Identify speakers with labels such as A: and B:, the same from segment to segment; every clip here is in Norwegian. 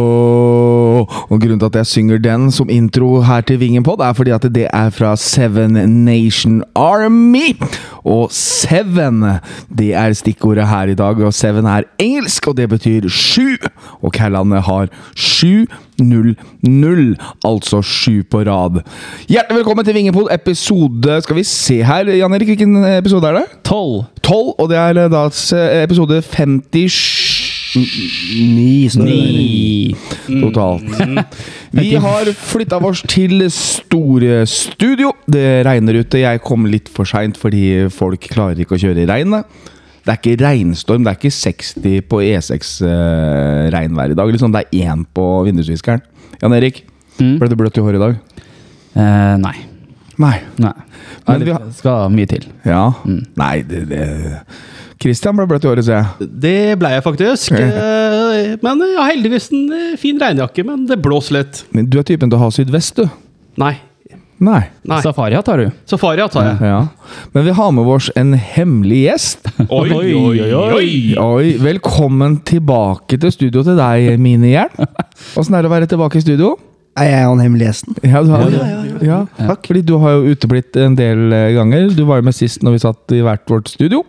A: Og grunnen til at jeg synger den som intro her til Vingenpod, er fordi at det er fra Seven Nation Army. Og Seven, det er stikkordet her i dag. Og Seven er engelsk, og det betyr sju. Og Callandet har sju. 0-0, altså sju på rad. Hjertelig velkommen til Vingepod episode Skal vi se her, Jan Erik, hvilken episode er det?
B: 12.
A: 12, og det er eh, da s- episode 57
C: Ni står det der.
B: Ni.
A: totalt. Mm. Vi har flytta oss til store studio. Det regner ute. Jeg kom litt for seint fordi folk klarer ikke å kjøre i regnet. Det er ikke regnstorm, det er ikke 60 på E E6-regnvær i dag. Liksom. Det er én på vindusviskeren. Jan Erik,
B: Mm.
A: ble det bløtt i håret i dag?
B: Eh, nei.
A: Nei.
B: nei.
A: Nei,
B: Men
A: vi
B: det
A: har-
B: skal mye til.
A: Ja. Nei, det, det Christian ble bløtt i håret, ser jeg.
C: Det ble jeg faktisk. eh, Men jeg har heldigvis en eh, fin regnjakke, men det blåser litt.
A: Men du er typen til å ha sydvest, du.
C: Nei.
A: Nei.
C: Nei.
B: Safaria tar du.
C: Safaria tar jeg.
A: Ja. Men vi har med oss en hemmelig gjest.
C: Oi,
B: Oi, oi, oi.
A: Oi, velkommen tilbake til studio til deg, Mini Hjelm. Åssen er det å være tilbake i studio?
C: Er jeg han hemmelige gjesten?
A: Ja, du har, ja, Fordi du har jo uteblitt en del eh, ganger. Du var jo med sist når vi satt i hvert vårt studio.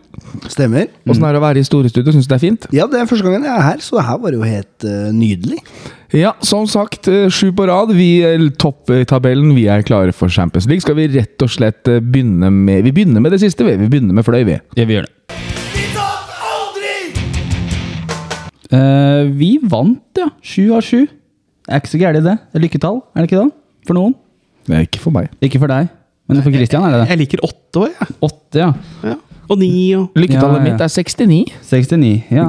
D: Stemmer.
A: Åssen er det å være i store studio? Syns du det er fint?
D: Ja, det er første gangen jeg er her, så det her var jo helt eh, nydelig.
A: Ja, som sagt, eh, sju på rad. Vi eh, topper tabellen. Vi er klare for Champions League. Skal vi rett og slett eh, begynne med Vi begynner med det siste, vi. Vi begynner med Fløy, vi.
B: Ja, vi gjør det. Eh, vi vant, ja. Sju av sju. Det er ikke så gærent, det. Det er lykketall, er det ikke det? For noen.
A: Nei, ikke for meg.
B: Ikke for deg, men for Christian er det det.
C: Jeg liker åtte år, jeg.
B: Åtte, ja.
C: Ja. Og ni og
A: Lykketallet
B: Ja, ja.
A: mitt er 69.
B: 69, ja.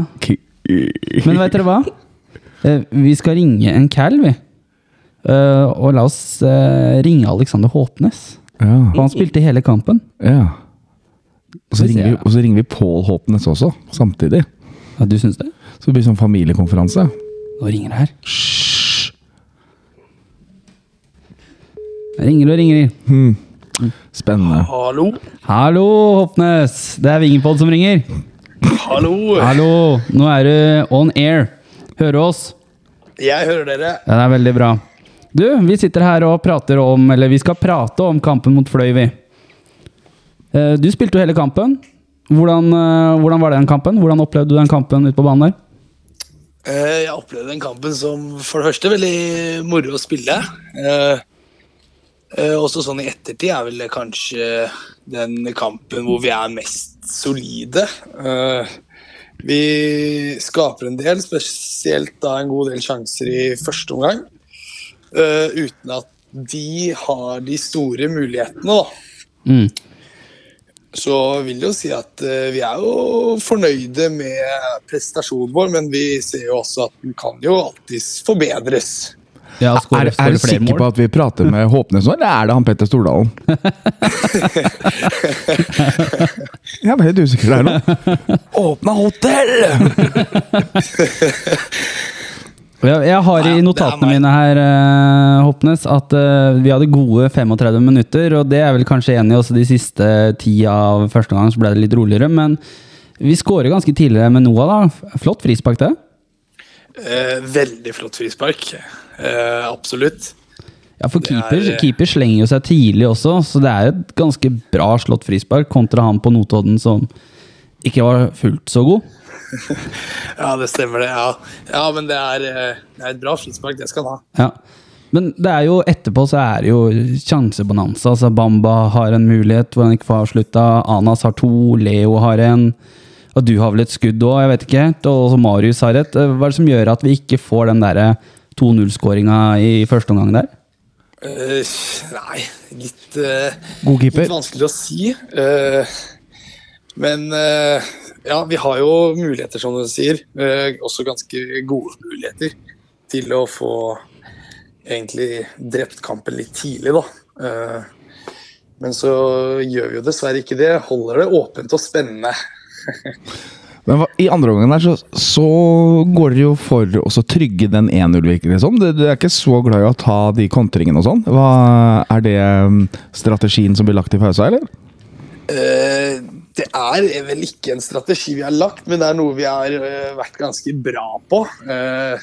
B: Men vet dere hva? Eh, vi skal ringe en cal, vi. Eh, og la oss eh, ringe Alexander Håpnes.
A: Ja.
B: For han spilte hele kampen.
A: Ja. Og så,
B: Det ser
A: ringer vi,
B: jeg.
A: og så ringer vi Pål Håpnes også, samtidig.
B: Ja, du syns det?
A: Så det blir sånn familiekonferanse.
B: Nå ringer det her. Hysj! Ringer og ringer.
A: Spennende.
E: Hallo.
B: Hallo, Håpnes! Det er Vingenpod som ringer.
E: Hallo.
B: Hallo! Nå er du on air. Hører du oss?
E: Jeg hører dere.
B: Ja, det er veldig bra. Du, vi sitter her og prater om Eller vi skal prate om kampen mot Fløy, vi. Eh, Du spilte jo hele kampen. Hvordan, eh, hvordan var den kampen? Hvordan opplevde du den kampen ute på banen der?
E: Eh, Jeg opplevde den kampen som for det første veldig moro å spille. Eh, eh, Også sånn i ettertid er vel det kanskje den kampen hvor vi er mest solide. Eh, Vi skaper en del, spesielt da en god del sjanser i første omgang. eh, Uten at de har de store mulighetene, da.
B: Mm.
E: så vil jeg jo si at eh, vi er jo fornøyde med prestasjonen vår, men vi ser jo også at den kan jo alltids forbedres.
B: Ja,
A: Er, er du sikker på at vi prater med Håpnes nå, eller er det han Petter Stordalen? Jeg ble litt usikker der nå. Åpna hotell!
B: Jeg, jeg har
E: Ja,
B: i
E: det er
B: notatene
E: meg.
B: mine her, eh, Hopnes, at eh, vi hadde gode 35 minutter, og det er vel kanskje enig i også de siste ti av første gang, så ble det litt roligere, men vi skårer ganske tidligere med Noah, da. Flott frispark, det.
E: Eh, veldig flott frispark. Eh, absolutt.
B: Ja, for keeper,
E: er- eh,
B: keeper slenger jo seg tidlig også, så det er et ganske bra slått frispark kontra han på Notodden som ikke var fullt så god.
E: Ja, det stemmer det. Ja, ja men det er, eh, det er et bra frispark, det skal han ha.
B: Ja. Men det er jo etterpå så er det jo sjansebonanza. Altså Bamba har en mulighet hvor han ikke får avslutta. Anas har to, Leo har en. Og du har vel et skudd òg, jeg vet ikke. Og også Marius har et. Eh, Hva er det som gjør at vi ikke får den derre 2-0-skåringa i første omgang der?
E: Eh, nei, litt eh,
A: God keeper.
E: Litt vanskelig å si. eh, men eh, ja, vi har jo muligheter, som du sier. eh, også ganske gode muligheter til å få egentlig drept kampen litt tidlig, da. Eh, men så gjør vi jo dessverre ikke det. Holder det åpent og spennende.
A: Men hva- i andre omgang der så, så går dere jo for å så trygge den 1-0, virker det som. Du du er ikke så glad i å ta de kontringene og sånn. Hva Er det um, strategien som blir lagt i pausa, eller?
E: Eh, det er vel ikke en strategi vi har lagt, men det er noe vi har eh, vært ganske bra på. Eh,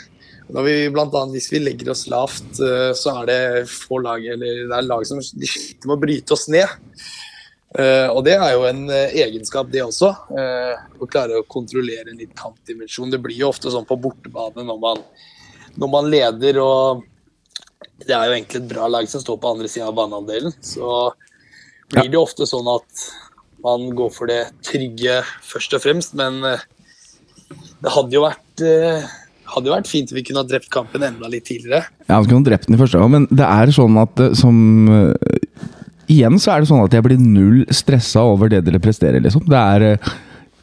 E: når vi, blant annet, hvis vi legger oss lavt, eh, så er det få lag eller det er lag som de sliter med å bryte oss ned. Eh, og det er jo en eh, egenskap, det også. eh, å klare å kontrollere en litt kantdimensjon. Det blir jo ofte sånn på bortebane når man, når man leder og Det er jo egentlig et bra lag som står på andre sida av banehalvdelen. Så blir det jo ofte sånn at man går for det trygge først og fremst, men eh, det hadde jo vært eh, hadde jo vært fint om vi kunne ha drept kampen enda litt tidligere.
A: Ja, han kunne drept den i første gang, men det er sånn at eh, som eh, Igjen så er det sånn at jeg blir null stressa over det dere presterer, liksom. Det er, eh,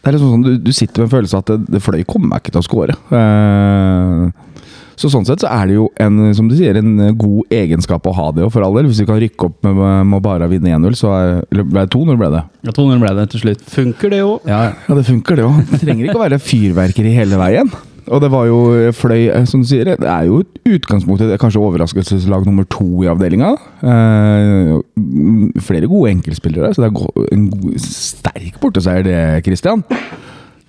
A: det er liksom sånn du, du sitter med en følelse av at det, det fløy kommer meg ikke til å score. Eh, så sånn sett så er det jo en, som du sier, en eh, god egenskap å ha det jo, for all del. Hvis du kan rykke opp med, med å bare vinne 1-0, så er, eller ble det 2-0, ble det.
B: Ja, 200 ble det til slutt.
C: Funker det jo?
B: Ja,
A: Ja, det funker det òg. Det trenger ikke å være fyrverkeri hele veien. Og det var jo fløy, eh, som du sier. Det er jo i utgangspunktet det er kanskje overraskelseslag nummer to i avdelinga. Eh, mm, flere gode enkeltspillere, så det er go- en god, sterk borteseier det, Christian.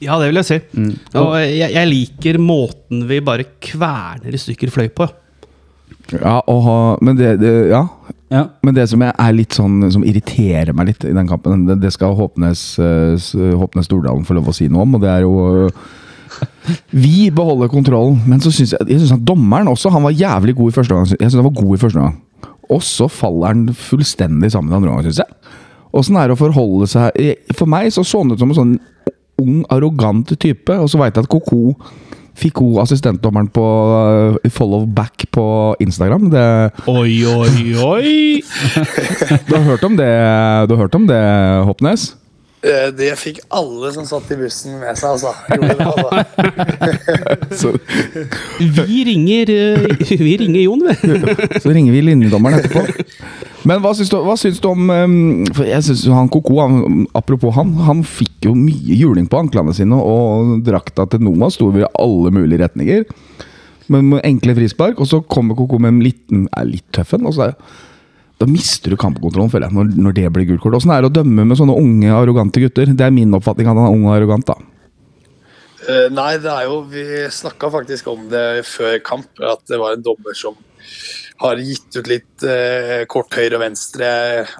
C: Ja, det vil jeg si.
B: Mm.
C: Og jeg, jeg liker måten vi bare kverner i stykker fløy på.
A: Ja, og, ha- men det, det Ja.
B: ja.
A: Men det som jeg er litt sånn Som irriterer meg litt i den kampen, det, det skal Håpnes, eh, s- Håpnes Stordalen få lov å si noe om, og det er jo eh, Vi beholder kontrollen, men så syns jeg, jeg synes at dommeren også Han var jævlig god i første gang. Jeg synes han var god i første gang. Og så faller han fullstendig sammen i andre gang, syns jeg. Åssen er det å forholde seg jeg- For meg så så han ut som en sånn ung, arrogant type, og så veit jeg at Koko fikk hun assistentdommeren på eh, follow back på Instagram. Det
C: Oi, oi, oi!
A: du har hørt om det, du har hørt om det Hoppnes?
E: Eh, Det fikk alle som satt i bussen med seg, altså. Gjorde det, altså.
A: Så,
C: Vi ringer, eh, vi ringer Jon, vi.
A: så ringer vi linjedommeren etterpå. Men hva syns du, hva syns du om ehm, For jeg syns han Koko, han, apropos han, han fikk jo mye juling på anklene sine, og drakta til Noah sto over i alle mulige retninger. Men med enkle frispark, og så kommer Koko med en liten er litt tøffen. Og så er, da mister du kampkontrollen, føler jeg, når, når det blir gult kort. Åssen er det å dømme med sånne unge, arrogante gutter? Det er min oppfatning at han er ung og arrogant, da.
E: Eh, Nei, det er jo Vi snakka faktisk om det før kamp, at det var en dommer som har gitt ut litt eh, kort høyre og venstre,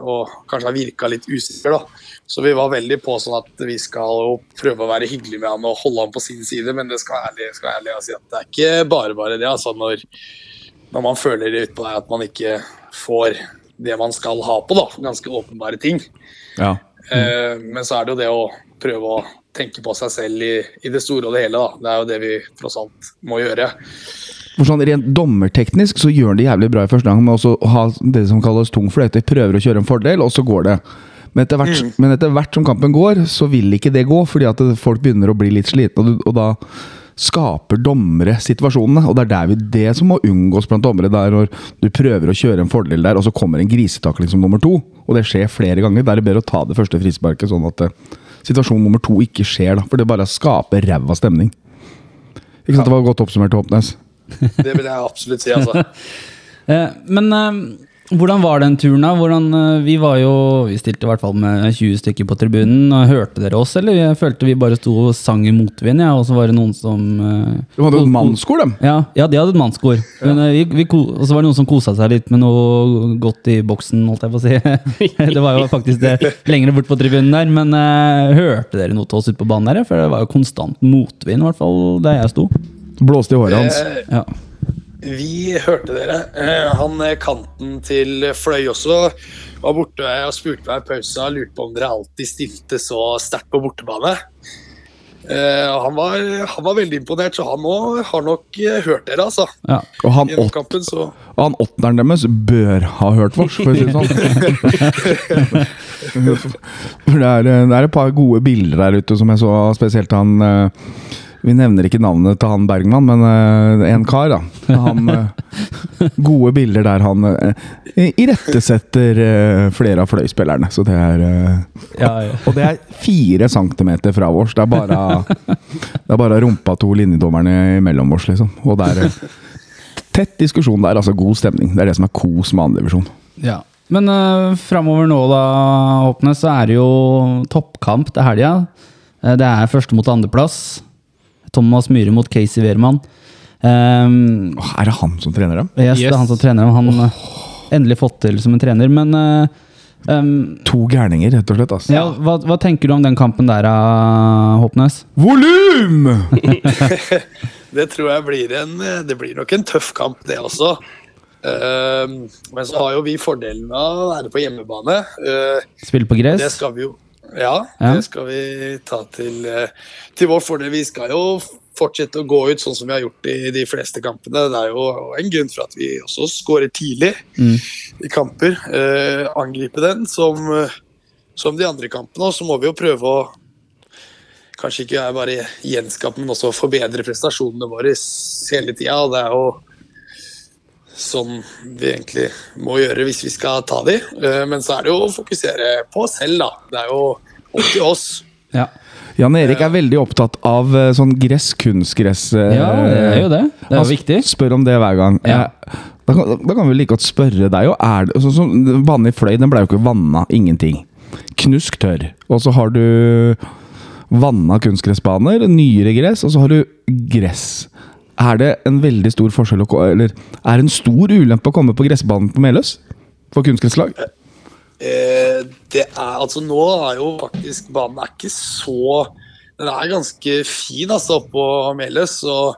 E: og kanskje har virka litt usikker, da. Så vi var veldig på sånn at vi skal jo prøve å være hyggelige med han og holde han på sin side, men det skal være ærlig, skal være ærlig å si at det er ikke bare bare det, altså. Når, når man føler det utpå deg at man ikke får det man skal ha på, da. Ganske åpenbare ting.
A: Ja. Mm.
E: Eh, Men så er det jo det å prøve å tenke på seg selv i, i det store og det hele. Da. Det er jo det vi tross alt må gjøre.
A: For sånn Rent dommerteknisk så gjør han det jævlig bra i første gang med også å ha det som kalles tung fløyte. Prøver å kjøre en fordel, og så går det. Men etter, hvert, men etter hvert som kampen går, så vil ikke det gå, fordi at det- folk begynner å bli litt slitne. Og, du- og da skaper dommere situasjonene, og det er der vi, det som må unngås blant dommere. Det er når du prøver å kjøre en fordel der, og så kommer en grisetakling som nummer to. Og det skjer flere ganger. Da er det bedre å ta det første frisparket, sånn at eh, situasjon nummer to ikke skjer. da, For det bare skaper ræva stemning. Ikke sant, Det var godt oppsummert, Håpnes.
E: Det vil jeg absolutt si, altså.
B: Eh, Men eh, hvordan var den turen, da? Hvordan, eh, vi var jo Vi stilte i hvert fall med 20 stykker på tribunen. Og hørte dere oss, eller? Jeg følte vi bare sto og sang i motvind, ja, og så var det noen som eh,
A: De hadde jo et mannskor, dem.
B: ja, ja, de hadde et mannskor. Men, eh, vi, vi, ko- og så var det noen som kosa seg litt med noe godt i boksen, holdt jeg på å si. det var jo faktisk det lengre bort på tribunen der. Men eh, hørte dere noe til oss ute på banen der? ja? For det var jo konstant motvind, i hvert fall der jeg sto.
A: Blåste i håret hans.
E: Eh,
B: Ja.
E: Vi hørte dere. Eh, Han eh, kanten til Fløy også var borte eh, og spurte meg i pausa lurte på om dere alltid stilte så sterkt på bortebane. Eh, og Han var, han var veldig imponert, så han òg har nok eh, hørt dere, altså.
B: ja.
A: Og han,
E: Gjennom
A: åt,
E: kampen, så
A: og han åtteren deres bør ha hørt vårs, for å si det sånn. For det er, eh, det er et par gode bilder der ute som jeg så, spesielt han eh, Vi nevner ikke navnet til han Bergman, men eh, en kar, da. Han, eh, gode bilder der han eh, irettesetter eh, flere av fløyspillerne. Så det er eh,
B: Ja, ja.
A: Og det er fire centimeter fra vårs. Det er bare, det er bare rumpa to linjedommerne imellom oss, liksom. Og det er eh, tett diskusjon der, altså god stemning. Det er det som er kos med andredivisjon.
B: Ja. Men uh, framover nå, da, Håpnes, så er det jo toppkamp til helga. Eh, det er første mot andreplass. Thomas Myhre mot Casey Wehrmann. Um,
A: Åh, er det han som trener dem?
B: yes, Det
C: Yes.
B: er han som trener dem. Han eh, endelig fått til som en trener, men eh, um,
A: To gærninger, rett og slett. Altså.
B: ja, hva, hva tenker du om den kampen der, eh, Håpnes?
A: Volum!
E: Det tror jeg blir en Det blir nok en tøff kamp, det også. Eh, men så har jo vi fordelen av å være på hjemmebane. Eh,
B: Spille på gress?
E: Det skal vi jo. Ja,
B: Ja.
E: det skal vi ta til, eh, til vår fordel. Vi skal jo fortsette å gå ut sånn som vi har gjort i de fleste kampene. Det er jo en grunn for at vi også skårer tidlig i kamper. Eh, angripe den som, eh, som de andre kampene. Og så må vi jo prøve å Kanskje ikke er bare gjenskape, men også forbedre prestasjonene våre s- hele tida. Og det er jo som vi egentlig må gjøre hvis vi skal ta de. Eh, Men så er det jo å fokusere på oss selv, da. Det er jo opp til oss.
B: Ja.
A: Jan Erik er veldig opptatt av eh, sånn gress, kunstgress. eh,
B: ja, det er jo det. Det er jo
A: Han
B: viktig.
A: Spør om det hver gang.
B: Ja.
A: Eh, Da, kan, da kan vi like godt spørre deg. Og er det, sånn som Banen i Fløy den ble jo ikke vanna. Ingenting. Knusk tørr. Og så har du vanna kunstgressbaner, nyere gress, og så har du gress. Er det en veldig stor forskjell å ko- Eller er det en stor ulempe å komme på gressbanen på Meløs? For kunstgresslag?
E: Eh, Det er altså Nå er jo faktisk banen er ikke så Den er ganske fin altså oppå Meløs. Og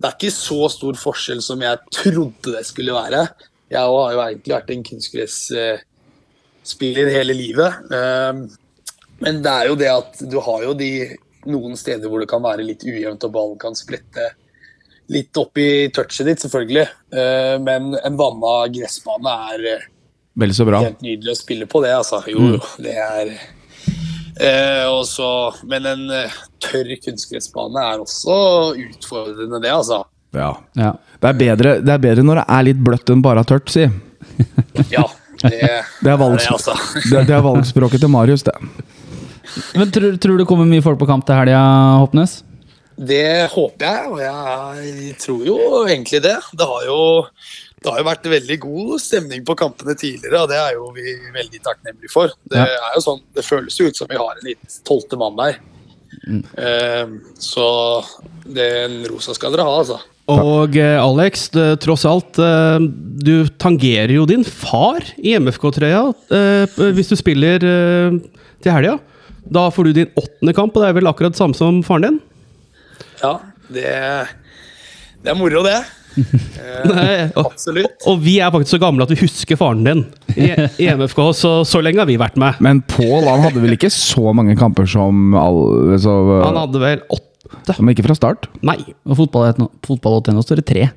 E: det er ikke så stor forskjell som jeg trodde det skulle være. Jeg har jo egentlig vært en kunstgressspiller hele livet. Eh, Men det er jo det at du har jo de noen steder hvor det kan være litt ujevnt og ballen kan splitte litt opp i touchet ditt, selvfølgelig. Eh, Men en vanna gressbane er eh,
A: Vel så bra.
E: Helt nydelig å spille på det, altså. Jo,
A: Mm.
E: jo, det er eh, og så- Men en eh, tørr kunstgressbane er også utfordrende, det, altså.
A: Ja.
B: Ja.
A: Det, er bedre, det er bedre når det er litt bløtt enn bare tørt, si.
E: Ja. Det,
A: Det er, valgs,
E: det, altså.
A: det, det er valgspråket til Marius, det.
B: Men tror, tror det kommer mye folk på kamp til helga, Håpnes?
E: Det håper jeg, og jeg tror jo egentlig det. Det har jo, det har jo vært veldig god stemning på kampene tidligere, og det er jo vi veldig takknemlige for. Det,
B: Ja.
E: er jo sånn, det føles jo ut som vi har en litt tolvte mann der.
A: Mm.
E: Eh, så den rosa skal dere ha, altså.
C: Og eh, Alex, det, tross alt, eh, du tangerer jo din far i MFK-trøya eh, p- hvis du spiller eh, til helga. Da får du din åttende kamp, og det er vel akkurat samme som faren din?
E: Ja, det, det er moro, det. Eh,
C: Nei, og,
E: absolutt.
C: og vi er faktisk så gamle at vi husker faren din i, i MFK, så så lenge har vi vært med.
A: Men Pål han hadde vel ikke så mange kamper som all, så,
C: Han hadde vel åtte
A: Men ikke fra start.
C: Nei,
B: Og fotball, fotball står det tre.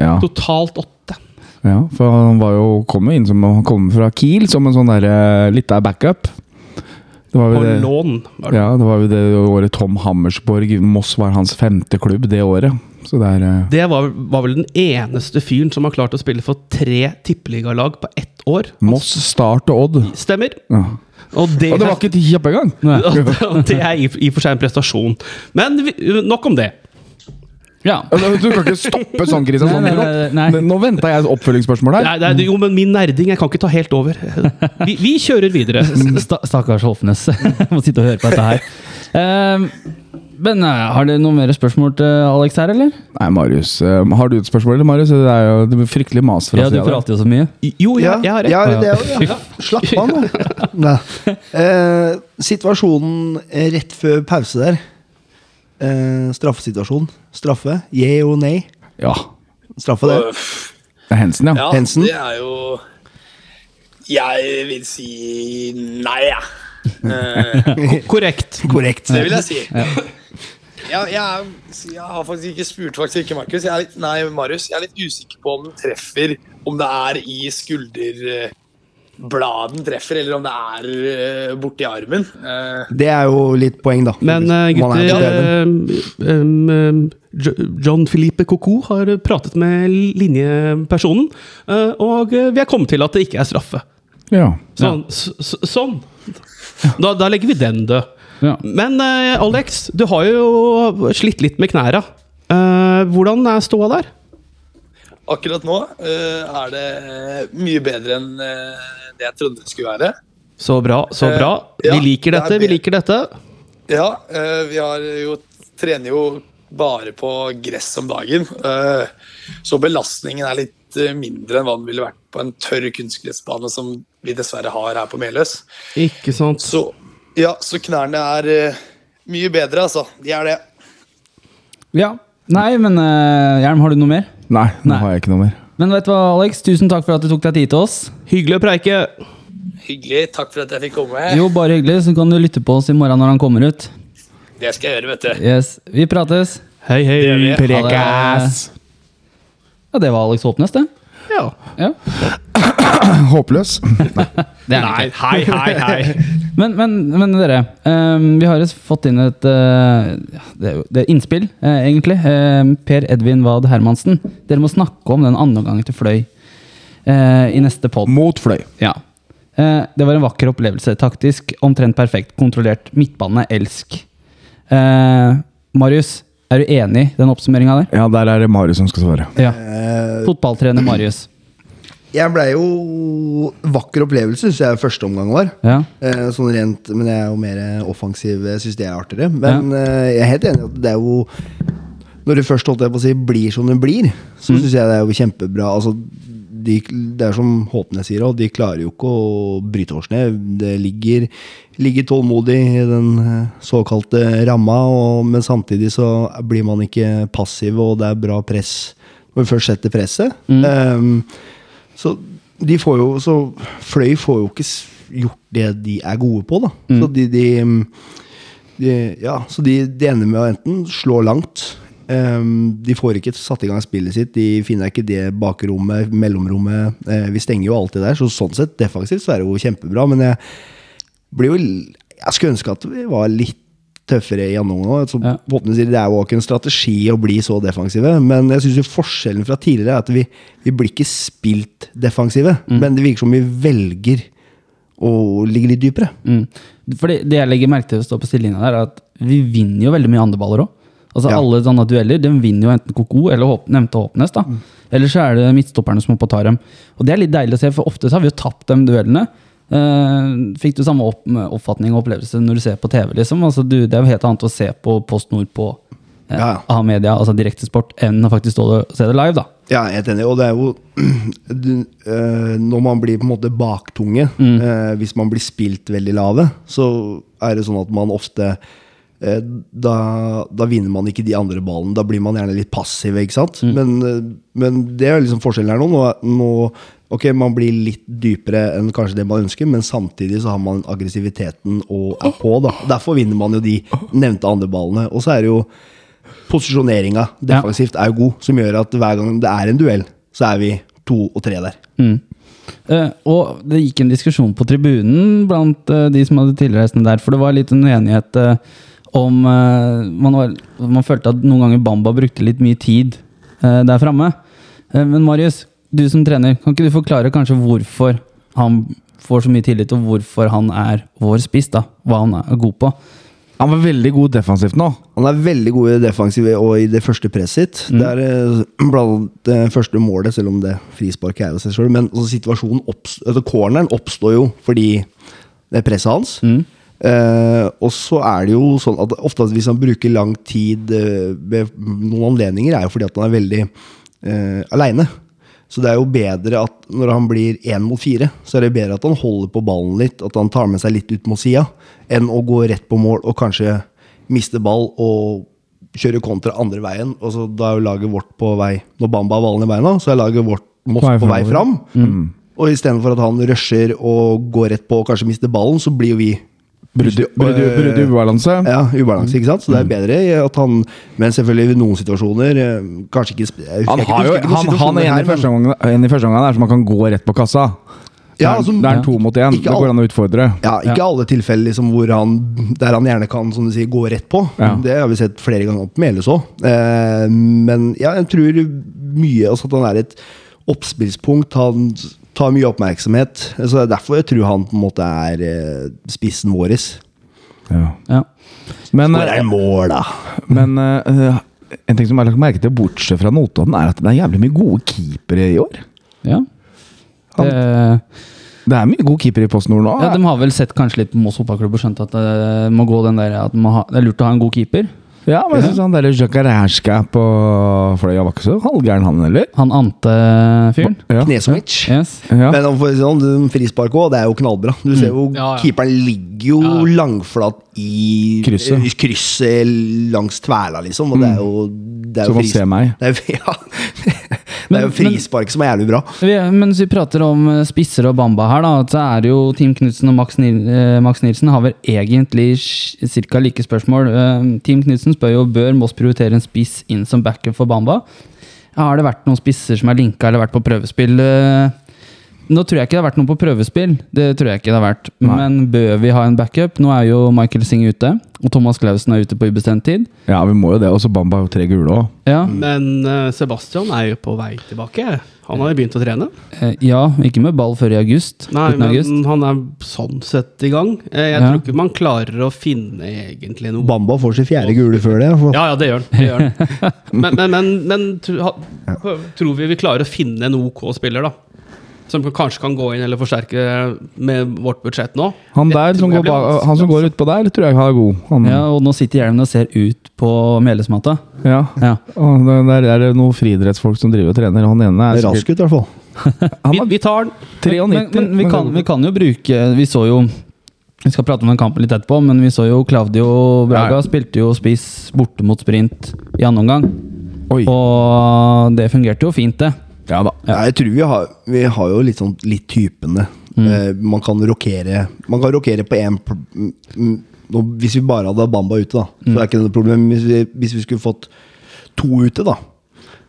A: Ja,
C: totalt åtte.
A: ja for han var jo, kom jo inn som han kom fra Kiel som en sånn derre litt av backup. Det var
C: På
A: jo det,
C: lån. var det.
A: ja, det var jo det året Tom Hammersborg Moss var hans femte klubb det året. Så det er eh,
C: Det var, var vel den eneste fyren som har klart å spille for tre tippeligalag på ett år.
A: Moss, Start og Odd.
C: Stemmer.
A: Ja.
C: Og det,
A: Og det var ikke ti kjappe engang!
C: Og det er i i og for seg en prestasjon. Men vi- nok om det.
B: Ja.
A: Altså, Du kan ikke stoppe sånn, Kristian.
B: Nei, nei, nei, nei.
A: Nå, nå venta jeg et oppfølgingsspørsmål her.
C: Nei, nei, jo, men min nerding jeg kan ikke ta helt over. Vi, vi kjører videre.
B: Mm. Sta, stakkars Holfnes. Må sitte og høre på dette her. Ehm, men eh, har dere noen mer spørsmål til Alex her, eller?
A: Nei, Marius. eh, Har du et spørsmål, eller, Marius? Det er jo det blir fryktelig mas fra
B: Ja, du
A: siden der.
B: prater jo så mye.
C: Jo, Oh, jeg, jeg har
D: Ja,
C: rett.
D: det er jo- ja. Slapp av nå. Nei. Eh, situasjonen eh, rett før pause der. Eh, straffesituasjon. Straffe. Yeah og nei.
A: Ja.
D: Straffe det.
A: Det er Hensen, ja.
E: Ja,
D: Hensen?
E: det er jo Jeg vil si nei, jeg. Eh,
C: Korrekt.
D: Korrekt.
E: det vil jeg si. Jeg, jeg, er- jeg har faktisk ikke spurt faktisk ikke Markus. Jeg er litt, nei, Marius. Jeg er litt usikker på om den treffer Om det er i skulderbladen treffer, eller om det er eh, borti armen. Eh,
D: Det er jo litt poeng, da.
C: Men eh,
D: Om han er
C: gutter,
D: litt døden.
C: eh, em, em, Jo- John Philippe Coco har pratet med linjepersonen, eh, og eh, vi er kommet til at det ikke er straffe.
A: ja.
C: Sånn. s- s- sånn. Da, da legger vi den død.
B: Ja.
C: Men eh, Alex, du har jo slitt litt med knæra. Eh, hvordan er ståa der?
E: akkurat nå eh, er det eh, mye bedre enn eh, det jeg trodde det skulle være.
C: Så bra, så
E: Eh,
C: bra.
E: ja,
C: Vi liker
E: det er
C: dette, vi
E: bedre.
C: liker dette.
E: Ja, eh, vi har jo trener jo bare på gress om dagen. eh, så belastningen er litt eh, mindre enn hva den ville vært på en tørr kunstgressbane som vi dessverre har her på Meløs.
C: Ikke sant.
E: Så, ja, så knærne er eh, mye bedre, altså. De er det.
B: Ja. Nei, men eh, Hjelm, har du noe mer?
A: Nei, nå
B: Nei.
A: har jeg ikke noe mer.
B: Men vet du hva, Alex? Tusen takk for at du tok deg tid til oss.
C: Hyggelig å preike.
E: Hyggelig. Takk for at jeg fikk komme.
B: Jo, bare hyggelig. Så kan du lytte på oss i morgen når han kommer ut.
E: Det skal jeg gjøre, vet du.
B: Yes, Vi prates.
C: Hei, hei.
E: gjør vi.
B: Prekas. Ja, det var Alex Håpnes, det.
C: Ja.
B: Ja.
A: Håpløs.
B: Det er han
C: Nei, hei, hei, hei.
B: Men, men, men dere, ehm, vi har jo fått inn et eh, ja, det, er jo- det er innspill, eh, egentlig. Ehm, per Edvin Wad Hermansen. Dere må snakke om den andre gangen til Fløy eh, i neste pod.
A: Mot fløy.
B: Ja. Eh, det var en vakker opplevelse. Taktisk omtrent perfekt. Kontrollert midtbane. Elsk. Eh, Marius, er du enig i den oppsummeringa der?
A: Ja, der er det Marius som skal svare.
B: Ja.
D: Eh,
B: Fotballtrener Marius.
D: Jeg blei jo Vakker opplevelse, syns jeg første omgang var.
B: Ja.
D: Eh, sånn rent, Men jeg er jo mer offensiv, jeg syns det er artigere. Men eh, jeg er helt enig i at det er jo Når du først holdt jeg på å si blir som det blir, så synes syns jeg det er jo kjempebra. Altså, de, det er som Håpnes sier, og de klarer jo ikke å bryte oss ned. Det ligger, ligger tålmodig i den eh, såkalte ramma, og, men samtidig så blir man ikke passiv, og det er bra press når vi først setter presset. Eh, så de får jo Så Fløy får jo ikke s- gjort det de er gode på, da. Så de, de, mm, de Ja, så de, de ender med å enten slå langt ehm, De får ikke satt i gang spillet sitt. De finner ikke det bakrommet, mellomrommet. eh, vi stenger jo alltid der, så sånn sett defensivt så er det jo kjempebra, men jeg blir jo l- Jeg skulle ønske at vi var litt tøffere i andre omgang. også.
B: Ja.
D: Så Håpne sier Det er jo ikke en strategi å bli så defensive, men jeg syns forskjellen fra tidligere er at vi, vi blir ikke spilt defensive, men det virker som vi velger å ligge litt dypere.
B: Mm. Fordi det jeg legger merke til å stå på stillingen der, er at vi vinner jo veldig mye andre baller òg. Altså
D: Ja.
B: Alle sånne dueller den vinner jo enten Koko eller Håp, nevnte Håpnes. da
D: Mm.
B: Eller så er det midtstopperne som er oppe og tar dem. Og det er litt deilig å se, for ofte så har vi jo tapt de duellene. Eh, fikk du samme opp, oppfatning og opplevelse når du ser på TV? liksom altså, du, Det er jo helt annet å se på Post Nord på eh,
D: Ja, ja.
B: A-media, altså direktesport, enn å faktisk stå og se det live. da
D: Ja, jeg er helt enig. Og det er jo du, eh, Når man blir på en måte baktunge, eh, hvis man blir spilt veldig lave, så er det sånn at man ofte eh, da, da vinner man ikke de andre ballene. Da blir man gjerne litt passiv. ikke sant? Men, eh, men det er liksom forskjellen her nå. nå, nå ok, Man blir litt dypere enn kanskje det man ønsker, men samtidig så har man aggressiviteten og er på. da. Derfor vinner man jo de nevnte andre ballene. Og så er det jo posisjoneringa defensivt er jo god, som gjør at hver gang det er en duell, så er vi to og tre der.
B: Eh, og det gikk en diskusjon på tribunen blant eh, de som hadde tilreisende der, for det var litt en uenighet eh, om eh, man, var, man følte at noen ganger Bamba brukte litt mye tid eh, der framme. Eh, men Marius, du som trener, kan ikke du forklare kanskje hvorfor han får så mye tillit, og hvorfor han er vår spiss, da? Hva han er god på?
A: Han var veldig god defensivt nå.
D: Han er veldig god i det defensive og i det første presset sitt. Det er eh, blant det første målet, selv om det frisparket er jo seg sjøl. Men altså, situasjonen opps- altså, corneren oppstår jo fordi det er presset hans. Eh, og så er det jo sånn at ofte at hvis han bruker lang tid eh, ved noen anledninger, er jo fordi at han er veldig uh, aleine. Så det er jo bedre at når han blir én mot fire, så er det bedre at han holder på ballen litt, at han tar med seg litt ut mot sida, enn å gå rett på mål og kanskje miste ball og kjøre kontra andre veien. Og så da er jo laget vårt på vei Når Bamba har ballen i beina, så er laget vårt Moss
A: På vei Mm.
D: på vei fram.
A: fremover.
D: Og istedenfor at han rusher og går rett på og kanskje mister ballen, så blir jo vi Eh,
A: Brudd brudd Mm. ubalanse.
D: ja, ubalanse, ikke sant? Så det er bedre at han Men selvfølgelig i noen situasjoner eh, Kanskje ikke sp- jeg husker
A: Han,
D: ikke-
A: har jo,
D: husker ikke
A: han,
D: noen
A: han
D: situasjoner
A: er en
D: her,
A: i
D: men-
A: første omgang- en i første omgang der som man kan gå rett på kassa.
D: Ja,
A: Det er-
D: altså,
A: det er en to mot én.
D: ikke
A: Det
D: all-
A: går an å utfordre.
D: Ja, ikke alle tilfeller liksom, hvor han, der han gjerne kan som du sier, gå rett på.
A: Ja.
D: Det har vi sett flere ganger på Meløs òg. Eh, men ja, jeg tror mye altså, at han er et oppspillspunkt. Han tar mye oppmerksomhet. Så det er derfor jeg tror han på en måte er eh, spissen vår.
A: Ja.
B: Ja.
A: Men, eh,
D: Hvor er mål, da?
A: men eh, En ting som jeg har lagt merke til, bortsett fra Notodden, er at det er jævlig mye gode keepere i år.
B: Ja. Det,
A: Det er mye gode keepere i Post Nord nå.
B: ja, de har vel sett kanskje litt på Moss fotballklubb og skjønt at det må gå den der at de må ha, det er lurt å ha en god keeper.
A: Ja, men jeg synes han derre Jakarashka på Fløya var ikke så halvgæren, han heller.
B: Han eh, Ante-fyren.
A: Ja.
D: Knesomic.
B: Yes.
A: Ja.
D: Men om for å si det sånn, den frispark òg, det er jo knallbra. Du ser jo
C: Mm. Ja, ja.
D: keeperen ligger jo langflat i eh,
A: Krysset.
D: i krysset langs tverla, liksom. Og det
C: Mm.
D: er jo det er
A: Som
D: jo
A: å se meg.
D: Det er, jo- ja. det er jo frispark som er jævlig bra.
B: Vi, mens vi prater om eh, spisser og Bamba her, da, så er det jo Team Knutsen og Max, Nil, eh, Max Nilsen har vel egentlig ca. like spørsmål. Eh, Team Knutsen spør jo bør Moss prioritere en spiss inn som backup for Bamba. Har det vært noen spisser som er linka eller vært på prøvespill? eh? Nå tror jeg ikke det har vært noen på prøvespill, det tror jeg ikke det har vært. Men bør vi ha en backup? Nå er jo Michael Singh ute, og Thomas Clausen er ute på ubestemt tid.
A: Ja, vi må jo det. Og så Bamba har jo tre gule òg.
B: Ja,
C: Men eh, Sebastian er jo på vei tilbake. Han har jo begynt å trene.
B: eh, ja ikke med ball før i august.
C: Nei,
B: slutten av august.
C: men han er sånn sett i gang. Eh, Jeg
B: Ja.
C: tror ikke man klarer å finne egentlig noe
D: Bamba får sin fjerde gule før det. For
C: Ja, ja, det gjør han. Det gjør han. Men, men, men, men tro- ha- tror vi vi klarer å finne en OK spiller, da? Som kanskje kan gå inn eller forsterke med vårt budsjett nå?
A: Han
C: Jeg
A: der
C: tror
A: som
C: jeg
A: går,
C: blir
A: ba-
C: vanskelig,
A: han som går utpå der, tror jeg er god. Han,
B: Ja,
A: ja.
B: og nå sitter hjelmen og ser ut på Melesmatta. Ja.
A: Og der, der er det noen friidrettsfolk som driver og trener. og Han ene er
D: det er rask
A: sikkert
D: ut, i hvert fall.
A: Han
C: Vi,
A: er
C: vi tar den.
A: 93.
B: Men, men vi, kan, vi kan jo bruke Vi så jo Vi skal prate om den kampen litt etterpå, men vi så jo Claudio Braga
A: Ja.
B: spilte jo spiss borte mot sprint i andre omgang.
A: Oi.
B: Og det fungerte jo fint, det.
A: Ja da.
D: Ja. Jeg tror vi har, vi har jo litt sånn litt typene. Eh, man kan rokere Man kan rokere på én nå, Hvis vi bare hadde Bamba ute, da, så er ikke det noe problem. Men Hvis vi, hvis vi skulle fått to ute, da,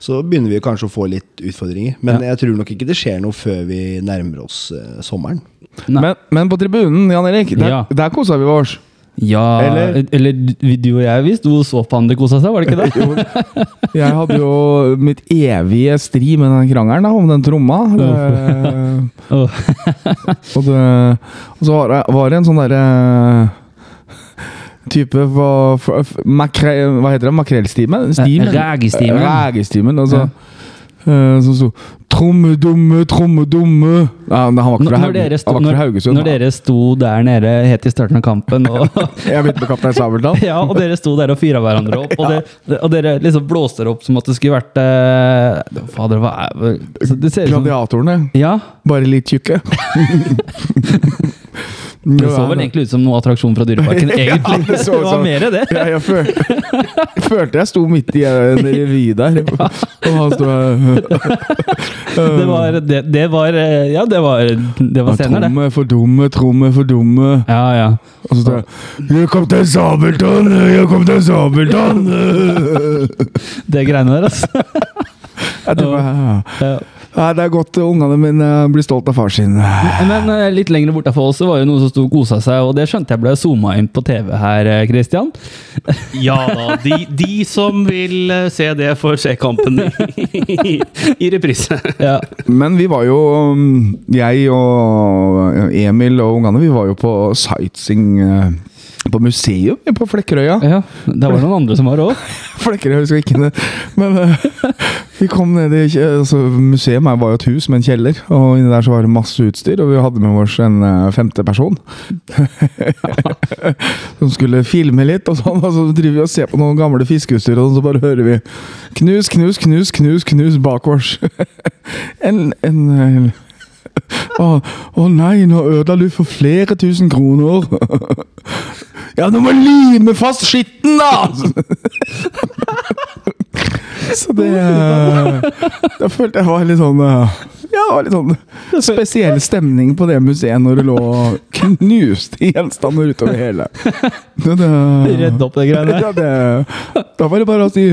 D: så begynner vi kanskje å få litt utfordringer. Men jeg tror nok ikke det skjer noe før vi nærmer oss eh, sommeren.
B: Nei.
A: Men, men på tribunen, Jan Erik, der,
B: Ja.
A: der kosa vi oss.
B: Ja Eller,
A: Eller-
B: du du og jeg, visst. Du så på han det kosa seg, var det ikke det?
A: Jeg hadde jo mitt evige stri med den krangelen da, om den tromma. Eh,
B: Åh.
A: Og, det, og så var det, var det en sånn derre Type på for, f- makre, Hva heter det? Makrellstimen? Stimen?
B: Rægestimen.
A: Rægestimen, Og så eh, Som sto 'Trommedumme, trommedumme' ja, men Han var ikke
B: Når,
A: fra,
B: når,
A: Haug,
B: dere sto,
A: han var ikke
B: når,
A: fra Haugesund.
B: når dere sto der nede helt i starten av kampen og
A: Jeg begynte med Kaptein Sabeltann.
B: Ja, og dere sto der og fyra hverandre opp, og, dere, og dere liksom blåste det opp som at det skulle vært eh, Fader, hva er sånn- så Det ser ut som
A: Gladiatorene.
B: Ja.
A: Bare litt tjukke.
B: Det så vel egentlig ut som noe attraksjon fra Dyreparken, egentlig.
A: det
B: det,
A: så ut
B: var
A: som-
B: mer det.
A: Ja, jeg, føl jeg følte jeg sto midt i eh, en revy der. Og han sto eh,
B: Det var, det, det var eh, Ja, det var, det var scener, det.
A: Tromme for dumme, tromme for dumme.
B: Ja, ja.
A: Og så står jeg Jeg kom til Sabeltann! Jeg kom til Sabeltann!
B: Det greiene der, altså.
A: Jeg tenker, «Ja,
B: Ja.
A: Nei, det er godt ungene mine blir stolt av far sin.
B: Men eh, litt lenger borte for oss så var det noen som sto og kosa seg, og det skjønte jeg ble zooma inn på TV her, eh, Christian.
C: Ja da. De, de som vil eh, se det, får se kampen i, i reprise.
B: Ja.
A: Men vi var jo um, Jeg og Emil og ungene Vi var jo på sightseeing eh, på museum på Flekkerøya.
B: ja. Det var noen andre som var òg.
A: Flekkerøy husker jeg ikke det. Men eh, vi kom ned i kje- altså, Museet her var jo et hus med en kjeller, og inni der så var det masse utstyr. Og vi hadde med oss en eh, femte person som skulle filme litt. Og sånn, og så driver vi og ser på noen gamle fiskeutstyr, og sånn, så bare hører vi knus, knus, knus, knus, knus bakårs. en, en, eh, å, å nei, nå ødela du for flere tusen kroner. ja, du må lime fast skitten, da! Så det Da følte jeg var litt sånn eh, Ja, det var litt sånn spesiell stemning på det museet når det lå knuste gjenstander utover hele. Det, det,
B: Redde opp det greiene der.
A: ja, det, da var det bare å si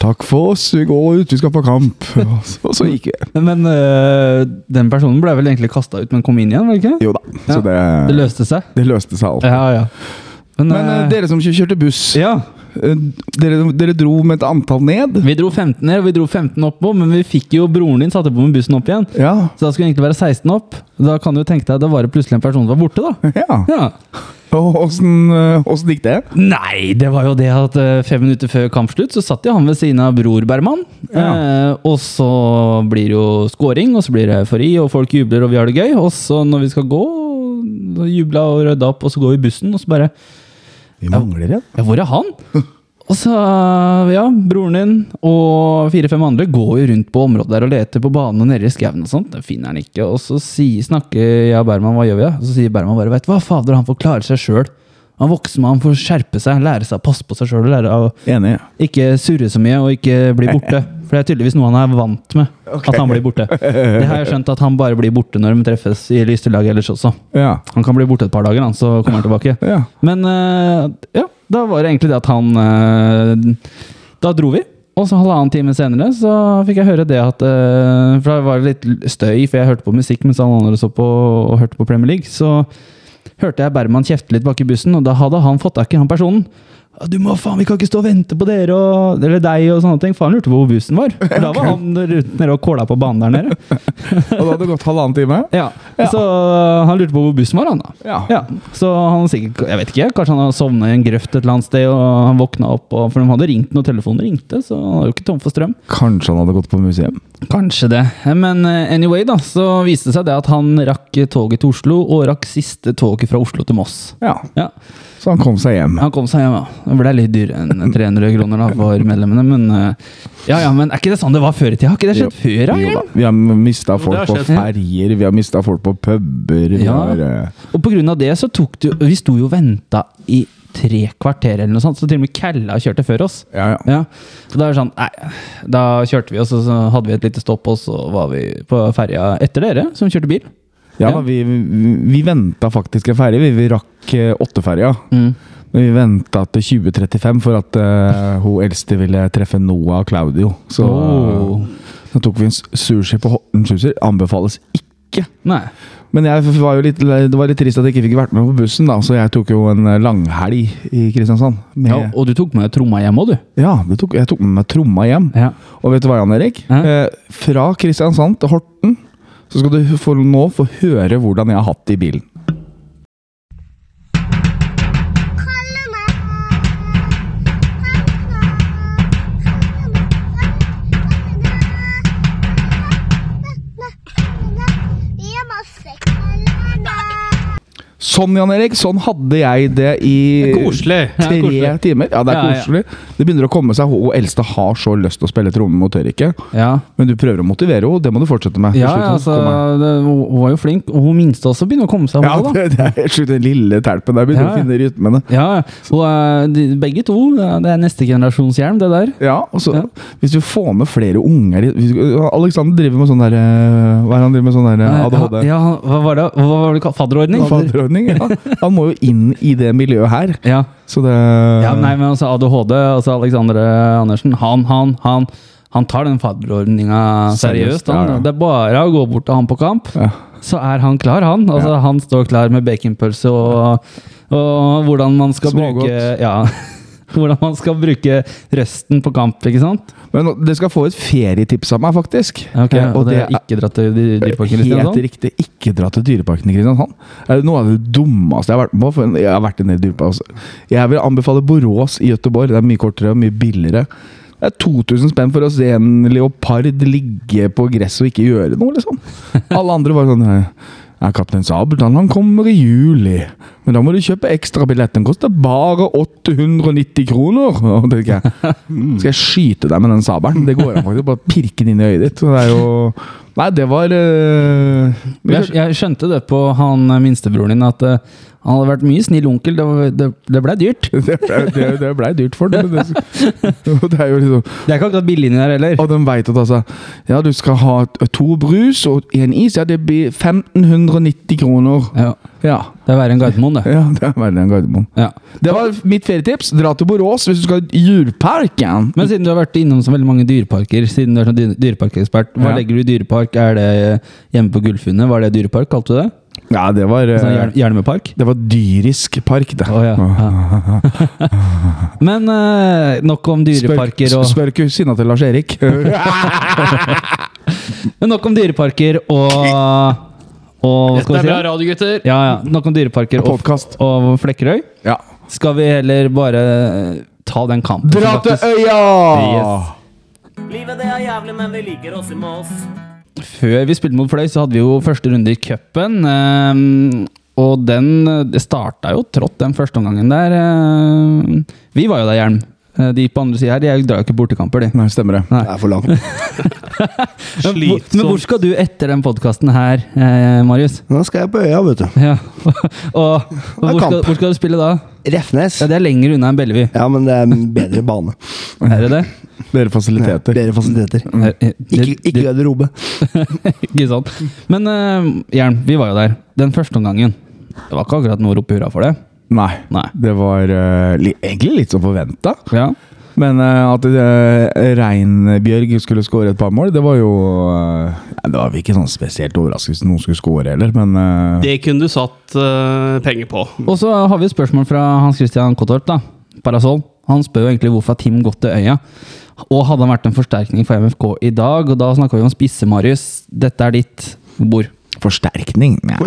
A: Takk for oss, vi går ut, vi skal på kamp. Og så, og så gikk vi.
B: Men øh, den personen ble vel egentlig kasta ut, men kom inn igjen? var det ikke?
A: Jo da. Så det,
B: Det løste seg.
A: det løste seg alt.
B: Ja, ja. Men,
A: Men eh,
B: øh,
A: dere som kjørte buss,
B: ja,
A: eh, dere, dere dro med et antall ned?
B: Vi dro 15 ned, og vi dro 15 oppå, men vi fikk jo broren din satte på med bussen opp igjen.
A: Ja.
B: Så da skulle det egentlig være 16 opp. Da kan du tenke deg, da var det plutselig en person som var borte, da.
A: ja.
B: Ja.
A: Og Åssen eh, åssen gikk det?
B: Nei, det var jo det at eh, fem minutter før kampslutt så satt jo han ved siden av Bror Berman. Eh, og så blir det jo scoring, og så blir det eufori, og folk jubler, og vi har det gøy. Og så når vi skal gå, da jubla og rydda opp, og så går vi i bussen, og så bare
A: Vi mangler en.
B: Ja, hvor er han? Og så, ja, broren din og fire-fem andre går jo rundt på området der og leter på banen og nede i skauen og sånt. Det finner han ikke. Og så sier, snakker jeg og Berman hva gjør vi da? Og så sier Berman bare veit du hva, fader, han får klare seg sjøl. Han vokser med, han får skjerpe seg, lære seg å passe på seg sjøl og lære å
A: Enig.
B: ikke surre så mye og ikke bli borte. For det er tydeligvis noe han er vant med, at han blir borte. Det har jeg skjønt, at han bare blir borte når de treffes i lysterlaget ellers også.
A: Ja.
B: Han kan bli borte et par dager, han, så kommer han tilbake.
A: Ja.
B: Men eh, ja, da var det egentlig det at han eh, Da dro vi. Og så halvannen time senere så fikk jeg høre det at eh, For da var det litt støy, for jeg hørte på musikk mens alle andre så på og hørte på Premier League. Så hørte jeg Berman kjefte litt bak i bussen, og da hadde han fått tak i han personen. «Ja, Du må faen, Vi kan ikke stå og vente på dere og, eller deg og sånne ting. Faen lurte på hvor bussen var. For da var han rundt nede og kåla på banen der nede.
A: Og da hadde det gått halvannen time?
B: Ja, Så han lurte på hvor bussen var, han da.
A: Ja.
B: Ja, så han sikkert, jeg vet ikke, kanskje han har sovnet i en grøft et eller annet sted, og han våkna opp, og, for de hadde ringt når telefonen ringte, så han var jo ikke tom for strøm.
A: Kanskje han hadde gått på museum?
B: Kanskje det. Men eh, anyway, da, så viste det seg det at han rakk toget til Oslo, og rakk siste toget fra Oslo til Moss.
A: Ja.
B: Ja,
A: Så han kom seg hjem.
B: han kom seg hjem, ja. Det ble litt dyrere enn 300 kroner da, for medlemmene, men eh, Ja, ja, men er ikke det sånn det var før i tida? Har ikke det skjedd før, da?
A: Jo da.
B: Jørgen?
A: Vi har mista folk
C: har
A: på
C: skjedd.
A: ferjer, vi har mista folk på puber vi
B: Ja.
A: har, eh,
B: Og på grunn av det så tok du Vi sto jo og venta i tre kvarter eller noe sånt, så til og med Kalla kjørte før oss.
A: ja, ja.
B: Ja. Så da er det sånn, nei, da kjørte vi, og så, så hadde vi et lite stopp, og så var vi på ferja etter dere, som kjørte bil.
A: Ja,
B: Ja.
A: da, vi, vi, vi venta faktisk en ferje. Vi, vi rakk eh, åtteferja.
B: Mm.
A: Men vi venta til 2035 for at eh, hun eldste ville treffe Noah og Claudio. Så
B: Oh.
A: så tok vi en s- sushi på Horten Sushi. Anbefales ikke.
B: Nei.
A: Men jeg f- var jo litt, le- det var litt trist at jeg ikke fikk vært med på bussen, da, så jeg tok jo en eh, langhelg i Kristiansand.
B: Ja,
A: Med,
B: og du tok med tromma hjem òg, du.
A: ja, det tok, jeg tok med meg tromma hjem.
B: Ja.
A: Og vet du hva, Jan Erik?
B: Hæ?
A: Eh, fra Kristiansand til Horten så skal du få, nå få høre hvordan jeg har hatt det i bilen. Sånn, Jan Erik, sånn hadde jeg det i
C: Koselig.
A: tre
B: koselig.
A: timer. Ja, det er
B: Ja, ja.
A: koselig. Det begynner å komme seg. Hun eldste har så lyst til å spille tromme, men hun tør ikke.
B: Ja,
A: Men du prøver å motivere henne, det må du fortsette med. Til
B: ja,
A: slutt så
B: altså,
A: kommer-
B: det, hun hun var jo flink, og hun minste også begynner å komme seg.
A: ja
B: hun også, da.
A: det, det er helt sjukt. Den lille telpen der begynner å
B: Ja, ja.
A: finne rytmene.
B: Ja, og, eh, de, begge to. ja, Det er neste generasjons hjelm, det der.
A: Ja, og så
B: Ja.
A: Hvis du får med flere unger i- hvis- Alexander driver med sånn der eh, Hva er det han driver med sånn der eh, ADHD?
B: Ja, ja, hva var det? Hva var det? ka- Fadderordning?
A: Fadderordning, ja. Han må jo inn i det miljøet her.
B: Ja.
A: Så det
B: Ja, nei, men altså ADHD, altså Alexander Andersen, han, han, han, han tar den fadderordninga seriøst.
A: Seriøst,
B: Han,
A: ja, ja.
B: Det er bare å gå bort til han på kamp,
A: Ja.
B: så er han klar, han. Altså, Han står klar med baconpølse og, og hvordan man skal
A: Smågodt.
B: bruke Ja. Hvordan man skal bruke røsten på kamp, ikke sant?
A: Men dere skal få et ferietips av meg, faktisk.
B: Ok,
A: Eh,
B: og det er ikke dratt til dy- Dyreparken?
A: Helt
B: Kristiansand?
A: riktig. Ikke dra til Dyreparken i Kristiansand. Det er noe av det dummeste jeg har vært med på. For jeg har vært i en del dyreparker. Jeg vil anbefale Borås i Gøteborg. Det er mye kortere og mye billigere. Det er 2000 spenn for å se en leopard ligge på gresset og ikke gjøre noe, liksom. Alle andre var sånn eh, ja, Kaptein Sabeltann han kommer i juli, men da må du kjøpe ekstra billett. Den koster bare 890 kroner! Og da tenker jeg, skal jeg skyte deg med den sabelen? Det går an faktisk. Bare pirke den inn i øyet ditt. Så det er jo Nei, det var eh, vi
B: Jeg,
A: kjørte-
B: jeg skjønte det på han eh, minstebroren din, at eh, han hadde vært mye snill onkel. Det, var- det, det blei dyrt.
A: Det ble, det, det ble dyrt for dem. men Det, og det er jo liksom
B: Det er ikke akkurat billig inni der heller.
A: Og de vet at altså Ja, du skal ha t- to brus og én is. Ja, det blir 1590 kroner.
B: Ja,
A: Ja.
B: det er verre enn Gardermoen, det.
A: ja det er veldig en Gardermoen.
B: Ja.
A: Det var mitt ferietips. Dra til Borås hvis du skal i dyreparken.
B: Men siden du har vært innom så veldig mange dyreparker, siden du er sånn dy- dyreparkekspert, hva
A: Ja.
B: legger du i dyrepark? Er det eh, hjemme på Gullfunnet? Var det dyrepark, kalte du det?
A: Ja, det var eh,
B: Sånn hjel- Hjelmepark?
A: Det var dyrisk park, det.
B: Å ja. ja. Men eh, nok om dyreparker
A: spør,
B: og
A: spør kusina til Lars Erik.
B: Men nok om dyreparker og og hva
C: Dette
B: skal vi
C: er
B: si?
C: bra
B: da?
C: radio, gutter.
B: Ja, ja. Nok om dyreparker og,
A: Podkast.
B: og Flekkerøy.
A: Ja.
B: Skal vi heller bare eh, ta den kampen? som
A: Dra til
B: faktisk-
A: øya!
B: Yes.
F: Livet det er jævlig, men vi liker oss i Moss.
B: Før vi spilte mot Fløy, så hadde vi jo første runde i cupen. ehm, og den eh, Det starta jo trått, den første omgangen der. ehm. vi var jo der, Hjelm. Eh, De på andre sida her de drar jo ikke bortekamper, de.
A: Nei, stemmer det.
D: Det er for langt.
B: Men hvor- Men hvor skal du etter den podkasten her, eh, Marius?
D: Nå skal jeg på øya, vet du.
B: Ja. og
D: er
B: hvor skal,
D: kamp.
B: hvor skal du spille da?
D: Refnes.
B: Ja, Det er lenger unna enn Bellevue.
D: Ja, men det er bedre bane.
B: Er det det?
A: Bedre fasiliteter.
D: Bedre fasiliteter.
B: Eh, eh,
D: Mm. Ikke,
B: det-
D: ikke garderobe.
B: Ikke sant? Men eh, Jern, vi var jo der. Den første omgangen. Det var ikke akkurat noe rop hurra for det.
A: Nei.
B: Nei.
A: Det var eh, li egentlig litt som forventa.
B: Ja.
A: Men eh, at eh, Reinbjørg skulle skåre et par mål, det var jo eh, Det var vel ikke sånn spesielt overraskelse noen skulle skåre heller, men eh,
C: Det kunne du satt eh, penger på.
B: Og så har vi et spørsmål fra Hans Christian Kottorp, da. Parasol. Han spør jo egentlig hvorfor har Tim gått til øya. Og hadde han vært en forsterkning for MFK i dag? Og da snakker vi om spisse, Marius. Dette er ditt bord.
A: Forsterkning? Nei.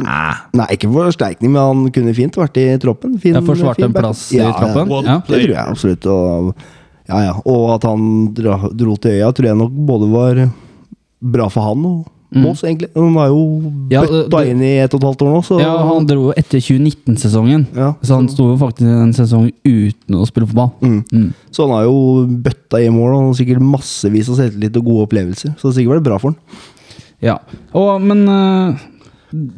D: Nei, ikke forsterkning, men han kunne fint vært i troppen. Fin,
B: Jeg forsvarte
D: fin
B: en
D: back.
B: plass i troppen. Ja.
D: Ja, det tror jeg absolutt. Og, ja, ja. og at han dra, dro til øya, tror jeg nok både var bra for han og Moss, egentlig. Han har jo
B: Mm. Ja, det-
D: bøtta
B: det-
D: inn i ett og et halvt år nå, så
B: Ja, han dro jo etter 2019-sesongen,
D: Ja.
B: så han sto jo faktisk en sesong uten å spille fotball. Mm.
D: Så han har jo bøtta i mål og sikkert massevis av selvtillit og gode opplevelser. Så det har sikkert vært bra for han.
B: Ja. Og, men eh,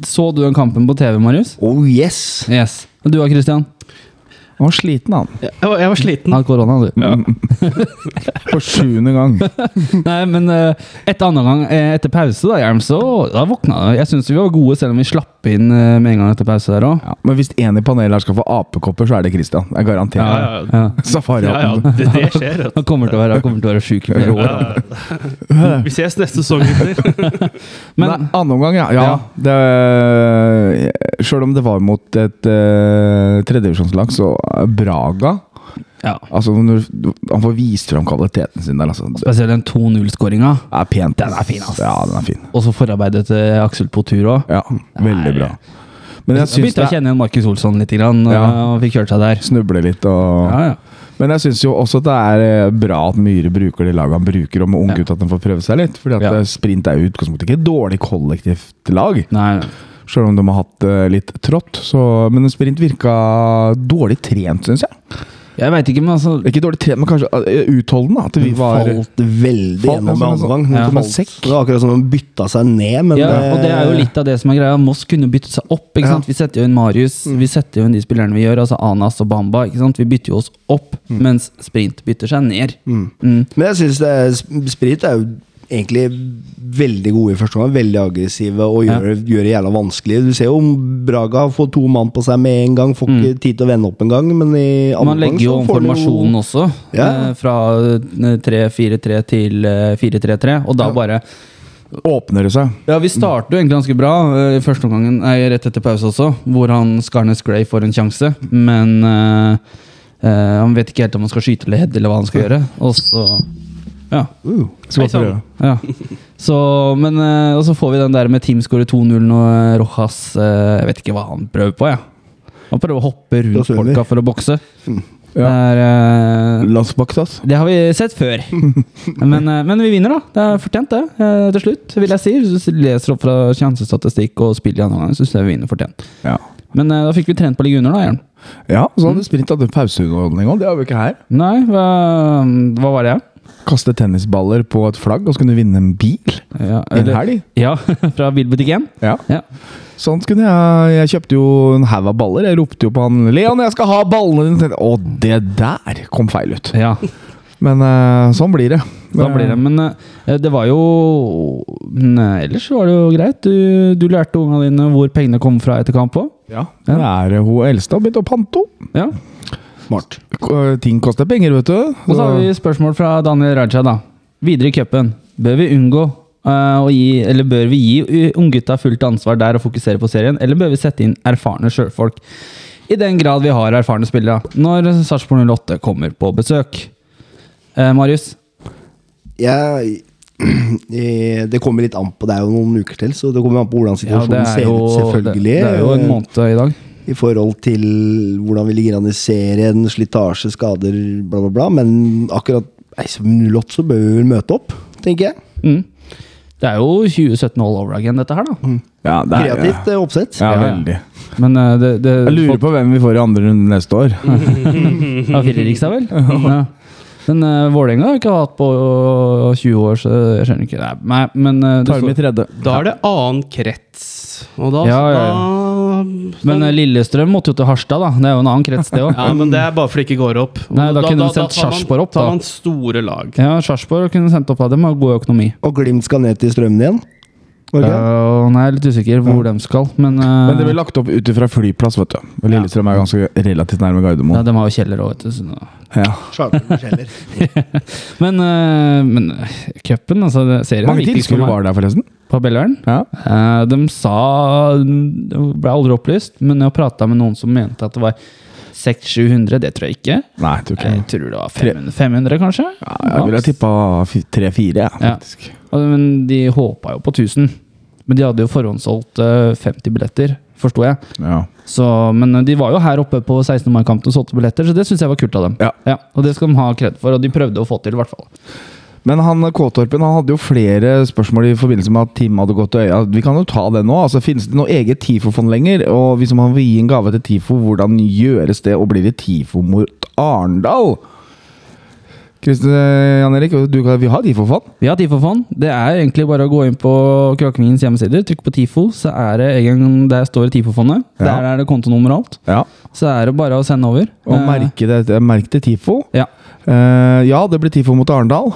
B: så du den kampen på TV, Marius?
D: Oh yes!
B: Yes. Og du da, Christian?
A: Han var sliten, han.
C: Jeg, var- jeg var sliten.
B: Hadde korona, du.
A: For sjuende gang.
B: Nei, men eh, etter andre gang, eh, etter pause, da, Hjelm, så da våkna jeg. Jeg syns vi var gode, selv om vi slapp inn eh, med en gang etter pause der òg.
A: Ja, men hvis én i panelet her skal få apekopper, så er det Christian. Jeg garanterer.
C: Ja, ja, ja.
B: Ja.
A: Safarihatten.
C: ja, ja det, det skjer. vet du.
B: Han kommer til å være, han kommer til å være sjuk i flere år.
C: Vi ses neste sesong, gutter.
A: Men
B: Men
A: annen omgang, ja. ja,
B: Ja.
A: Det, eh, selv om det var mot et uh, tredjevisjonslag, så eh, Braga
B: ja,
A: altså, når, du- Han får vist fram kvaliteten sin der. Altså. Det
B: spesielt den 2-0-skåringa,
A: er pent.
B: Den er fin, ass.
A: Ja, den er fin.
B: og så forarbeidet til Aksel Potur òg.
A: Ja, veldig bra. Men jeg
B: Jeg
A: syns
B: begynte å
A: det
B: kjenne igjen Markus Olsson litt, grann, og
A: Ja.
B: og fikk kjørt seg der.
A: snubler litt og
B: Ja, ja.
A: Men jeg syns jo også at det er eh, bra at Myhre bruker det laget han bruker, og med unggutta at de får prøve seg litt. Fordi at
B: Ja.
A: eh, sprint er jo i utgangspunktet ikke et dårlig kollektivt lag,
B: Nei, nei.
A: selv om de har hatt eh, litt trått. Så, men sprint virka dårlig trent, syns jeg.
B: jeg veit ikke, men altså
A: Ikke dårlig trent, men kanskje eh, utholdende. At vi var
D: falt veldig
A: Falt,
D: gjennom i
A: ja, som en
D: andre
A: sånn-
D: gang.
A: ja,
D: Hun
A: som en
D: falt.
A: sekk.
D: Det var akkurat som hun bytta seg ned, men
B: altså, ja, og det er jo litt av det som er greia. Moss kunne jo byttet seg opp. ikke sant? Vi setter jo inn Marius,
A: Mm.
B: vi setter jo inn de spillerne vi gjør, altså Anas og Bamba. ikke sant? Vi bytter jo oss opp,
A: Mm.
B: mens Sprint bytter seg ned. Mm.
D: Men jeg syns Sprit er jo egentlig veldig gode i første omgang. Veldig aggressive og gjør, gjør det jævla vanskelig. Du ser jo om Braga får to mann på seg med en gang, får ikke tid til å vende opp en gang, men i andre
B: Mm. Man legger jo
D: gang
B: om
D: så får de
B: formasjonen også,
D: Ja.
B: eh, fra eh, 3-4-3 til eh, 4-3-3, og da bare
A: Åpner det seg?
B: Ja, vi starter jo egentlig ganske bra eh, i første omgangen, nei, rett etter pause også, hvor han Skarnes Gray får en sjanse, men eh, eh, han vet ikke helt om han skal skyte eller heade eller hva han skal gjøre, og så Ja.
A: Skal
C: Hei,
A: bare prøve.
C: sann.
B: Ja. Så, men, eh, og så får vi den der med Team scorer 2-0 og eh, Rojas eh, Jeg vet ikke hva han prøver på, jeg. Han prøver å hoppe
D: Da
B: rundt
D: ser vi.
B: folka for å bokse. Det,
A: Ja.
B: er, eh,
A: Landsbakt, ass.
B: det har vi sett før. Men, eh, men vi vinner, da. Det er fortjent, det. eh, Til slutt, vil jeg si. Hvis du leser opp fra sjansestatistikk og spiller i andre omgang, så syns jeg vi vinner fortjent.
A: Ja.
B: Men eh, da fikk vi trent på å ligge under, da, Jørn.
A: ja, så
B: Mm.
A: hadde Sprint hatt en pauseunderholdning òg. Det har vi ikke her.
B: Nei, hva, hva var det?
A: Kaste tennisballer på et flagg, og så kunne du vinne en bil.
B: Ja,
A: En helg.
B: ja fra bilbutikken?
A: Ja.
B: Ja.
A: Sånn kunne jeg Jeg kjøpte jo en haug av baller. Jeg ropte jo på han 'Leon, jeg skal ha ballene dine!' tenkte jeg, Å, det der kom feil ut.
B: ja.
A: Men eh, sånn blir det.
B: Da blir det, Men eh, det var jo men, eh, Ellers var det jo greit. Du, du lærte ungene dine hvor pengene kom fra etter kamp òg.
A: Ja. Det er eh, hun eldste har begynt å pante opp.
B: Ja.
D: Smart.
A: K- eh, Ting koster penger, vet du.
B: Og så har vi spørsmål fra Daniel Raja. da. Videre i cupen. Bør vi unngå eh, å gi, eller bør vi gi u- unggutta fullt ansvar der og fokusere på serien, eller bør vi sette inn erfarne sjøfolk? I den grad vi har erfarne spillere, når Sarpsborg 08 kommer på besøk. Eh, Marius?
D: Jeg, eh, Det kommer litt an på, det er jo noen uker til, så det kommer an på hvordan
B: Ja,
D: situasjonen
B: det er
D: ser
B: jo,
D: ut,
B: det,
D: selvfølgelig.
B: det er jo en
D: eh,
B: måned i dag.
D: I forhold til hvordan vi ligger an i serien, slitasje, skader, bla, bla, bla. Men akkurat nei, som 08 så bør vi vel møte opp, tenker jeg.
B: Mm. Det er jo 2017 all over again, dette her, da.
A: Ja, det er,
D: Kreativt eh, oppsett.
A: Ja,
B: Ja, ja.
A: veldig.
B: Men eh, det, det
A: Jeg lurer på hvem vi får i andre runde neste år.
B: Ja, Fredrikstad, vel? ja. Men uh, Vålerenga har ikke hatt på øh, 20 år, så jeg skjønner ikke det. Nei, men eh, det
A: Tar
B: står-
A: med i tredje.
C: Da er det annen krets. Og da,
B: Ja, ja,
C: da
B: Men eh, Lillestrøm måtte jo til Harstad, da. Det er jo en annen krets, det òg.
C: Ja, men det er bare fordi det ikke går opp.
B: Nei, da kunne du sendt
C: tar man-
B: Sarpsborg opp, da.
C: tar man store lag.
B: Ja, Sarpsborg kunne sendt opp da. De har god økonomi.
D: Og Glimt skal ned til strømmen igjen. Var det ikke det?
B: Eh, nei, jeg er litt usikker hvor de skal, men, eh,
A: Men det ble lagt opp ut fra flyplass, vet du. Og Lillestrøm er ganske relativt nærme
B: ja,
A: Gardermoen.
B: De har jo kjeller òg, vet du. Så, nå-
A: Ja.
D: Charter forskjeller.
B: men uh, men eh, cupen, altså det- serien
A: Mange tilskuere var der, forresten.
B: på Belleren.
A: Ja.
B: Eh, de sa Det ble aldri opplyst, men jeg prata med noen som mente at det var 600-700. Det tror jeg ikke.
A: Nei, jeg tror ikke
B: Jeg
A: det.
B: tror det var 500, 500 kanskje?
A: Ja, jeg ville ha tippa tre-fire, jeg,
B: Ja.
A: faktisk.
B: Ja, Men de håpa jo på 1000. Men de hadde jo forhåndssolgt eh, 50 billetter, forsto jeg.
A: Ja.
B: Så, men eh, de var jo her oppe på 16. mai-kampen og solgte billetter, så det syns jeg var kult av dem.
A: Ja.
B: Og det skal de ha kred for, og de prøvde å få til, i hvert fall.
A: Men han eh, Kåtorpen han hadde jo flere spørsmål i forbindelse med at Tim hadde gått til øya. Vi kan jo ta det nå. altså Finnes det noe eget TIFO-fond lenger? Og hvis man vil gi en gave til TIFO, hvordan gjøres det? Og blir det TIFO mot Arendal? Kristin eh, Jan Erik, du, kan- vi har TIFO-fond.
B: Vi har TIFO-fond. Det er egentlig bare å gå inn på Kråkevingens hjemmesider, trykke på TIFO, så er det egen, der står TIFO-fondet.
A: Ja.
B: Der er det kontonummer og alt.
A: Ja.
B: Så er det bare å sende over.
A: Og
B: Eh,
A: merke det, merk det TIFO.
B: Ja.
A: Eh, ja, det blir TIFO mot Arendal.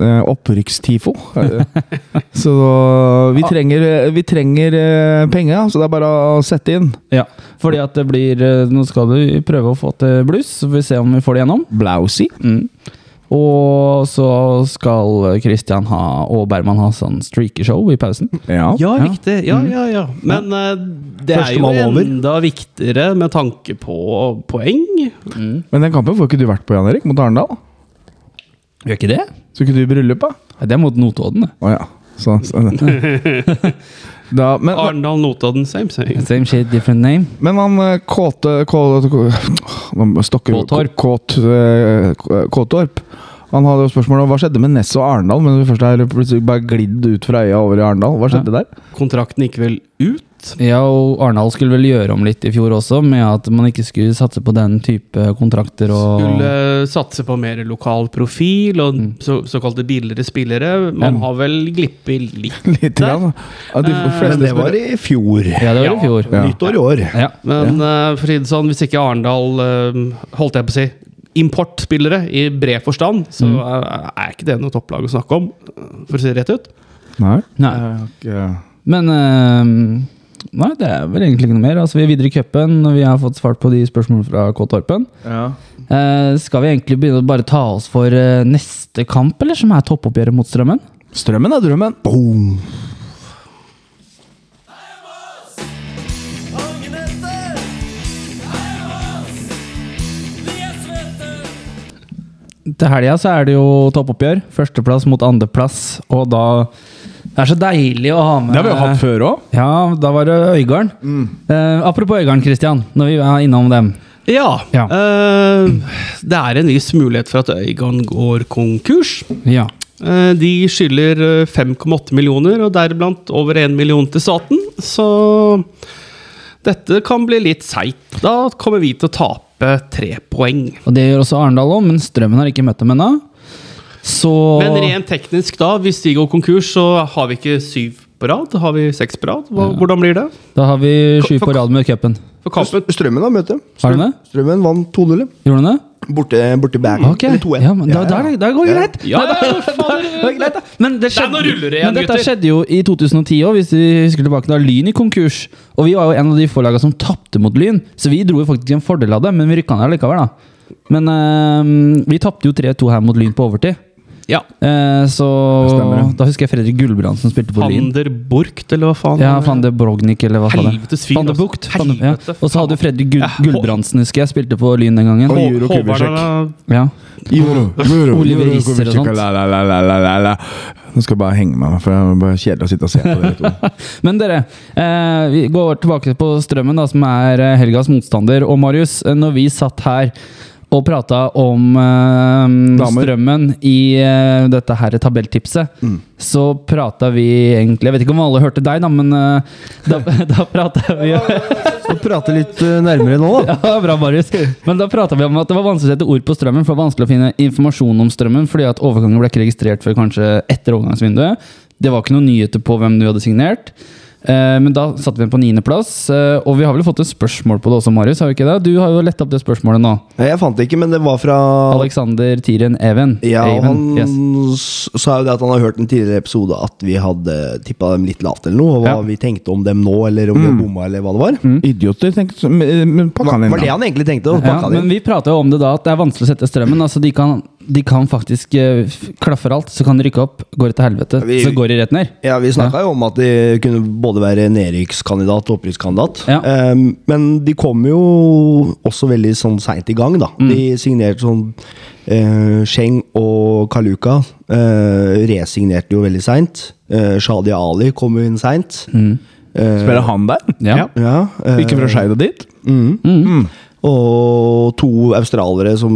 A: Uh, Opprykkstifo. Eh, så vi trenger, vi trenger eh, penga, så det er bare å sette inn.
B: ja. Fordi at det blir eh, Nå skal vi prøve å få til bluss, så får vi se om vi får det gjennom.
A: Blousy.
B: Mm. Og så skal Christian ha, og Berman ha sånn streakershow i pausen.
A: Ja.
C: Ja, riktig. Ja, ja, ja. Men eh, det er jo
D: Førstemann over.
C: enda viktigere med tanke på poeng.
A: Men den kampen får ikke du vært på, Jan Erik, mot Arendal.
B: Gjør ikke det?
A: Skulle ikke du i bryllupet?
B: Det er mot Notodden, det.
A: Å ja. Så, så. Da, men,
C: Arendal, Notodden, same same.
B: Same shit, different name.
A: men han eh, Kåte Kå- Kå- Nå stokker-
B: Kåtorp.
A: Kåt, eh, Kåtorp. Han hadde jo spørsmål om hva skjedde med Ness og Arendal. Men vi først er plutselig bare glidd ut fra øya over i Arendal. Hva skjedde der?
C: Kontrakten gikk vel ut?
B: Ja, og Arendal skulle vel gjøre om litt i fjor også, med at man ikke skulle satse på den type kontrakter og
C: Skulle satse på mer lokal profil og så, såkalte billigere spillere. Man har vel glippet litt.
A: Litt grann. Ja, de
C: Eh,
A: fleste
D: Men det
A: spiller-
D: var i fjor.
B: Ja, det var i fjor.
A: Ja.
D: Nyttår i år.
B: Ja.
C: Men eh, for å si det sånn, hvis ikke Arendal eh, Holdt jeg på å si importspillere i bred forstand, så eh, er ikke det noe topplag å snakke om, for å si det rett ut.
A: Nei.
B: Nei. Men eh, Nei, det er vel egentlig ikke noe mer. Altså, vi er videre i cupen, og vi har fått svart på de spørsmålene fra K. Torpen. Eh, skal vi egentlig begynne å bare ta oss for eh, neste kamp, eller? Som er toppoppgjøret mot Strømmen?
A: Strømmen er drømmen.
D: Boom.
B: Til helga så er det jo toppoppgjør. Førsteplass mot andreplass, og da Det er så deilig å ha med
A: Det har vi jo hatt før Mm. òg.
B: Ja, da var det Øygarden. Eh, apropos Øygarden, Christian, når vi er innom dem.
C: Ja.
B: Ja.
C: eh, det er en viss mulighet for at Øygarden går konkurs.
B: Ja.
C: Eh, de skylder eh, 5,8 millioner, og deriblant over 1 million til staten. Så dette kan bli litt seigt. Da kommer vi til å tape tre poeng.
B: Og det gjør også Arendal òg, men Strømmen har ikke møtt dem ennå. Så
C: Men rent teknisk, da, hvis de går konkurs, så har vi ikke syv på rad? Har vi seks på rad? Hva, Hvordan blir det?
B: Da har vi sju
C: For-
B: på rad med cupen.
C: For kampen
D: Strømmen har møte.
B: Har du det?
D: Strømmen vant 2-0.
B: Gjorde du det?
D: Borte, borte i Bergen.
B: Ok.
D: Mm. Eller 2-1.
B: Ja, men da,
D: Ja, ja.
B: da, da går det greit.
C: Ja,
B: Nei, da-
C: ja, for faen,
B: da- da- greit, da. Men det
C: Det er noe
B: skjedde,
C: ruller igjen,
B: men dette
C: gutter.
B: skjedde jo i 2010 òg, hvis vi husker tilbake da Lyn i konkurs. Og vi var jo en av de få lagene som tapte mot Lyn, så vi dro jo faktisk en fordel ehm, av det, men vi rykka ned likevel, da. Men eh, vi tapte jo 3-2 her mot Lyn på overtid.
C: Ja.
B: Eh,
A: Stemmer
B: så
A: det.
B: da husker jeg Fredrik Gulbrandsen spilte på Lyn.
C: Van der Burkt, eller hva faen?
B: Ja, van de Brognik, eller hva sa det?
C: Helvetes fyr,
B: Van de
C: altså.
B: Bucht. Van de, ja.
C: Helvete,
B: Og så hadde du Fredrik Gul
C: Ja, hå-
B: Gulbrandsen, husker jeg, spilte på Lyn den gangen.
A: Oi.
C: Hå-
A: Juro
C: Håvard
A: Kubisjek.
C: er-
B: Ja.
A: Juro, juro,
B: Oliver
A: juro,
B: Risser
A: kommer
B: og
A: ikke-
B: sånt.
A: la, la, la, la, la, la, la. Nå skal jeg bare henge meg, for det er bare kjedelig å sitte og se på dere to.
B: Men dere, eh, vi går tilbake på Strømmen, da, som er eh, helgas motstander. Og Marius, eh, når vi satt her og prata om eh,
A: Damer.
B: Strømmen i eh, dette her tabelltipset, så prata vi egentlig Jeg vet ikke om alle hørte deg, da, men eh, da, da prata vi
D: Så prate litt eh, nærmere nå, da.
B: Ja, bra, Marius. Men da prata vi om at det var vanskelig å sette ord på strømmen, for det var vanskelig å finne informasjon om strømmen, fordi at overgangen ble ikke registrert før kanskje etter overgangsvinduet. Det var ikke noen nyheter på hvem du hadde signert. Eh, men da satte vi den på niendeplass, eh, og vi har vel fått et spørsmål på det også, Marius? har vi ikke det? Du har jo letta opp det spørsmålet nå.
D: Nei, Jeg fant det ikke, men det var fra
B: Alexander Tiren Even.
D: ja, og han
B: Even, yes.
D: s- sa jo det at han har hørt en tidligere episode at vi hadde tippa dem litt lavt, eller noe. Og hva
B: Ja. Mm.
D: vi tenkte om dem nå, eller om vi hadde bomma, eller hva det var.
A: Idioter, tenkte jeg. Men men pakka
D: Hva,
A: den inn,
D: var det
A: da.
D: han egentlig tenkte? Og
B: Ja,
D: pakka
B: men
D: det inn.
B: vi prata jo om det da, at det er vanskelig å sette strømmen. Altså, de kan, de kan faktisk eh, f- klaffer alt, så kan de rykke opp, går det til helvete,
D: Vi-
B: så går de rett ned.
D: Ja, Vi snakka jo om at de kunne både være nedrykkskandidat og opprykkskandidat.
B: Ja.
D: Ehm, men de kom jo også veldig sånn seint i gang, da.
B: Mm.
D: De signerte sånn eh, Scheng og Kaluka eh, resignerte jo veldig seint. Eh, Shadi Ali kom jo inn seint.
B: Mm.
A: Spiller han der?
B: Ja.
D: Ja, eh,
A: Ikke fra Skeid og dit?
D: og to australiere som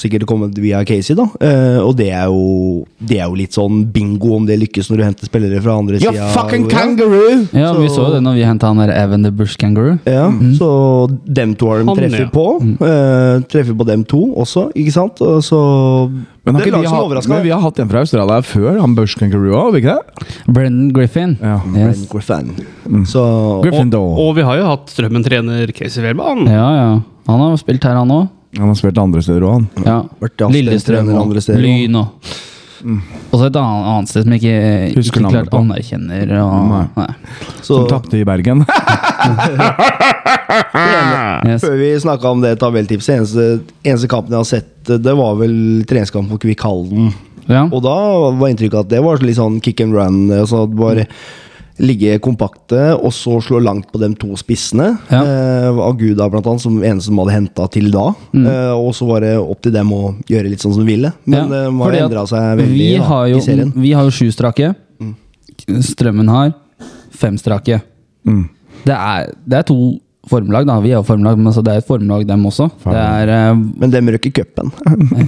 D: sikkert kom via Casey, da. Eh, og det er, jo, det er jo litt sånn bingo om det lykkes når du henter spillere fra andre
A: You
D: sida.
A: fucking kangaroo!
B: Ja, vi
D: Så-
B: så jo det når vi henta han der Evan the Bush Kangaroo.
D: Ja,
A: Mm.
D: Så dem to har de
C: Han,
D: treffer
C: ja.
D: på. eh, treffer på dem to også, ikke sant? Og så
A: Men, har
D: Det er
A: ikke vi
D: lag som
A: hatt-
D: overrasker.
A: men vi har hatt en fra Australia før, han Bush Kangaroo òg, har vi ikke det?
B: Brendan Griffin.
A: Ja.
B: Yes.
D: Griffin. Mm. Så
A: Griffin
C: Og,
A: Doe.
C: og vi har jo hatt Strømmen-trener Casey Wehrmann.
B: ja, ja. Han har spilt her, han òg.
A: Han har spilt andre steder òg, han.
B: Ja.
D: Vært i Aspen,
B: Lillestrøm
D: trener
B: og
D: andre steder også. Mm.
B: Lyn og Og så et annet, annet sted som jeg ikke,
A: Husker
B: ikke
A: navnet
B: klart
A: på.
B: anerkjenner. Og,
A: Nei.
B: nei.
D: så
A: Som tapte i Bergen.
B: Yes.
D: Før vi snakka om det tabelltipset, eneste, eneste kampen jeg har sett, det var vel treningskamp på Kvikk Halden.
B: Ja.
D: Og da var inntrykket at det var litt sånn kick and run. Altså at bare ligge kompakte og så slå langt på de to spissene.
B: Ja.
D: Eh, Aguda blant annet, som eneste som hadde henta til da. Eh, og så var det opp til dem å gjøre litt sånn som de ville. Men
B: Mm. Ja,
D: eh, de har
B: fordi at
D: endra seg veldig
B: vi
D: da,
B: har jo,
D: i serien. Mm.
B: Vi har jo sju strake. Strømmen har fem strake.
D: Mm.
B: Det, er, det er to formlag, da. Vi er jo formlag, men altså, det er et formlag, dem også. Det er eh,
D: Men dem røkker cupen.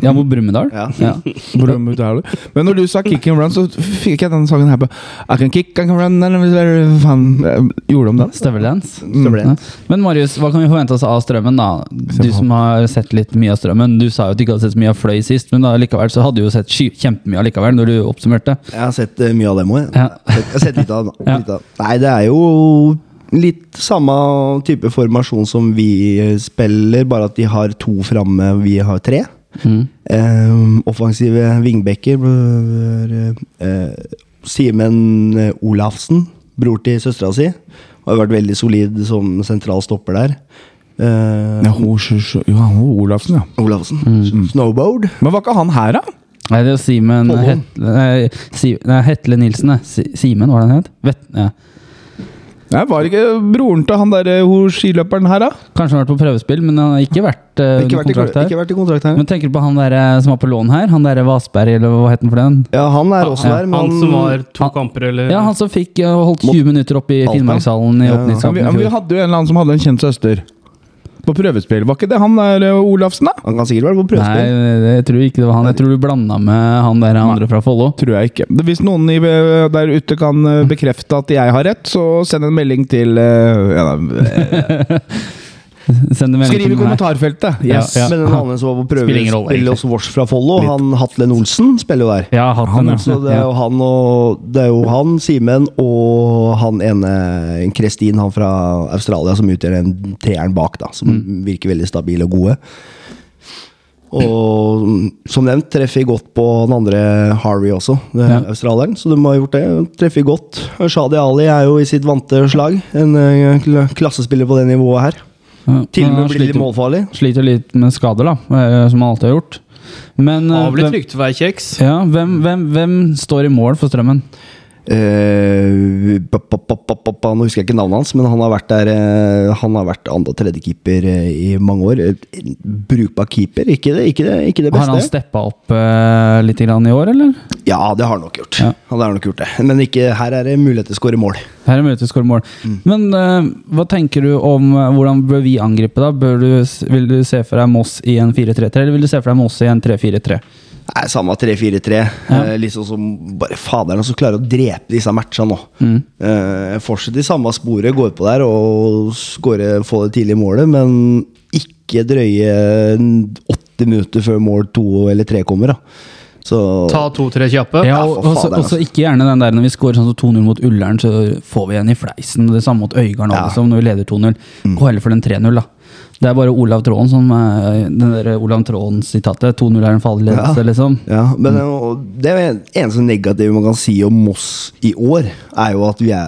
B: Ja, hvor Brumunddal.
D: Ja.
B: Ja.
A: Brum ut her, du. Men når du sa kick and run, så fikk jeg den sangen her på I can kick and run and it's very fun. Eh, Gjorde de det?
B: Støveldance.
D: Støveldance.
B: Ja. Men Marius, hva kan vi forvente oss av strømmen, da? Du som har sett litt mye av strømmen. Du sa jo at du ikke hadde sett så mye av Fløy sist, men da likevel så hadde du jo sett sky- kjempemye allikevel når du oppsummerte.
D: Jeg har sett eh, mye av dem òg.
B: Ja.
D: Jeg har sett litt av dem. da.
B: Ja.
D: Litt av. Nei, det er jo litt samme type formasjon som vi eh, spiller, bare at de har to framme, vi har tre.
B: Mm.
D: Eh, offensive vingbekker. bl- eh, Simen eh, Olafsen, bror til søstera si, har vært veldig solid som sentral stopper der. Eh,
A: Ja, hun, hun, hun, ja, hun Olafsen, ja.
D: Olafsen.
B: Mm.
D: Snowboard.
A: Men var ikke han her, da?
B: Nei, det er jo Simen
D: Follo.
B: Hetle, nei, si, nei, Hetle Nilsen, nei. Si- Simen, hva var det han het? Vet, ja.
A: Nei, var ikke broren til han derre hun skiløperen her, da?
B: Kanskje han har vært på prøvespill, men han har ikke vært eh,
D: Ikke
B: under
D: vært, i,
B: kontrakt her.
D: ikke vært i kontrakt her.
B: Men tenker du på han der eh, som var på lån her? Han derre Vasberg, eller hva het han for den?
D: Ja, han er også der, men
C: Han som var to
B: Han-
C: kamper, eller
B: Ja, han som fikk eh, holdt 20 minutter opp i
D: Alta.
B: Finnmarkshallen i
D: Ja.
A: Ja,
B: åpningskampen
A: vi,
B: i
A: ja, vi
B: fjor.
A: hadde jo en eller annen som hadde en kjent søster. På prøvespill. Var ikke det han der eh, Olafsen, da?
D: han kan sikkert være på prøvespill.
B: Nei, det- jeg tror ikke det var han. Jeg tror du blanda med han der andre fra Follo.
A: Tror jeg ikke. Hvis noen i, der ute kan eh, bekrefte at jeg har rett, så send en melding til eh, ja, da,
B: Send en
A: eh,
B: melding
A: Skriv
B: til
A: i
B: meg.
A: kommentarfeltet! Yes.
B: Ja.
D: Men den andre som var på
B: Spiller ingen rolle,
D: prøvespill
B: egentlig.
D: hos Vårs fra Follo, han Hatlen Olsen spiller jo der.
B: Ja, jeg har hatt den.
D: Så det er jo
B: ja.
D: han og Det er jo han, Simen, og han ene Kristin, han fra Australia, som utgjør den treeren bak, da. Som
B: Mm.
D: virker veldig stabile og gode. Og som nevnt treffer godt på den andre Harvey også, det er
B: Ja.
D: australieren. Så de har gjort det. Treffer godt. Shadi Ali er jo i sitt vante slag. En eh, kla- klassespiller på det nivået her.
B: Ja,
D: Til og
B: men
D: med
B: han
D: blir litt
B: sliter,
D: målfarlig.
B: sliter litt med skader, da, eh, som han alltid har gjort. Men eh,
C: Avlitt
B: hvem,
C: rykteværkjeks.
B: ja, hvem, hvem, hvem står i mål for Strømmen?
D: Eh, pa, pa, pa, pa, pa, pa. Nå husker jeg ikke navnet hans, men han har vært der eh, Han har vært andre- og tredjekeeper eh, i mange år. Eh, Brukbar keeper, ikke det, ikke det, ikke det
B: Har han
D: beste.
B: steppa opp eh, litt grann i år, eller?
D: Ja, det har han nok gjort.
B: Ja.
D: Han har nok gjort det. Men ikke, her er det mulighet til å skåre mål.
B: Her er mulighet til å skåre mål.
D: Mm.
B: Men eh, hva tenker du om eh, hvordan bør vi angripe, da? Bør du, s- vil du se for deg Moss i en 4-3-3, eller vil du se for deg Moss i en 3-4-3?
D: Nei, Samme 3-4-3.
B: Ja.
D: Eh, liksom som bare faderen som klarer å drepe disse matchene nå.
B: Mm.
D: Eh, Fortsette i samme sporet, gå på der og score, få det tidlig i målet, men ikke drøye en åtte minutter før mål to eller tre kommer. da Så
C: Ta to-tre kjappe.
B: Ja,
D: for
B: og også,
D: fader, altså.
B: også ikke gjerne den der når vi scorer sånn som 2-0 mot Ullern, så får vi en i fleisen. Det samme mot Øygarden
D: Ja. Mm.
B: også, når vi leder 2-0. Gå heller for den 3-0, da. Det er bare Olav Tråen som eh, Den der Olav Tråen-sitatet. 2-0 er en farlig ledelse, liksom.
D: Ja, men det, og det er en- eneste negative man kan si om Moss i år, er jo at vi er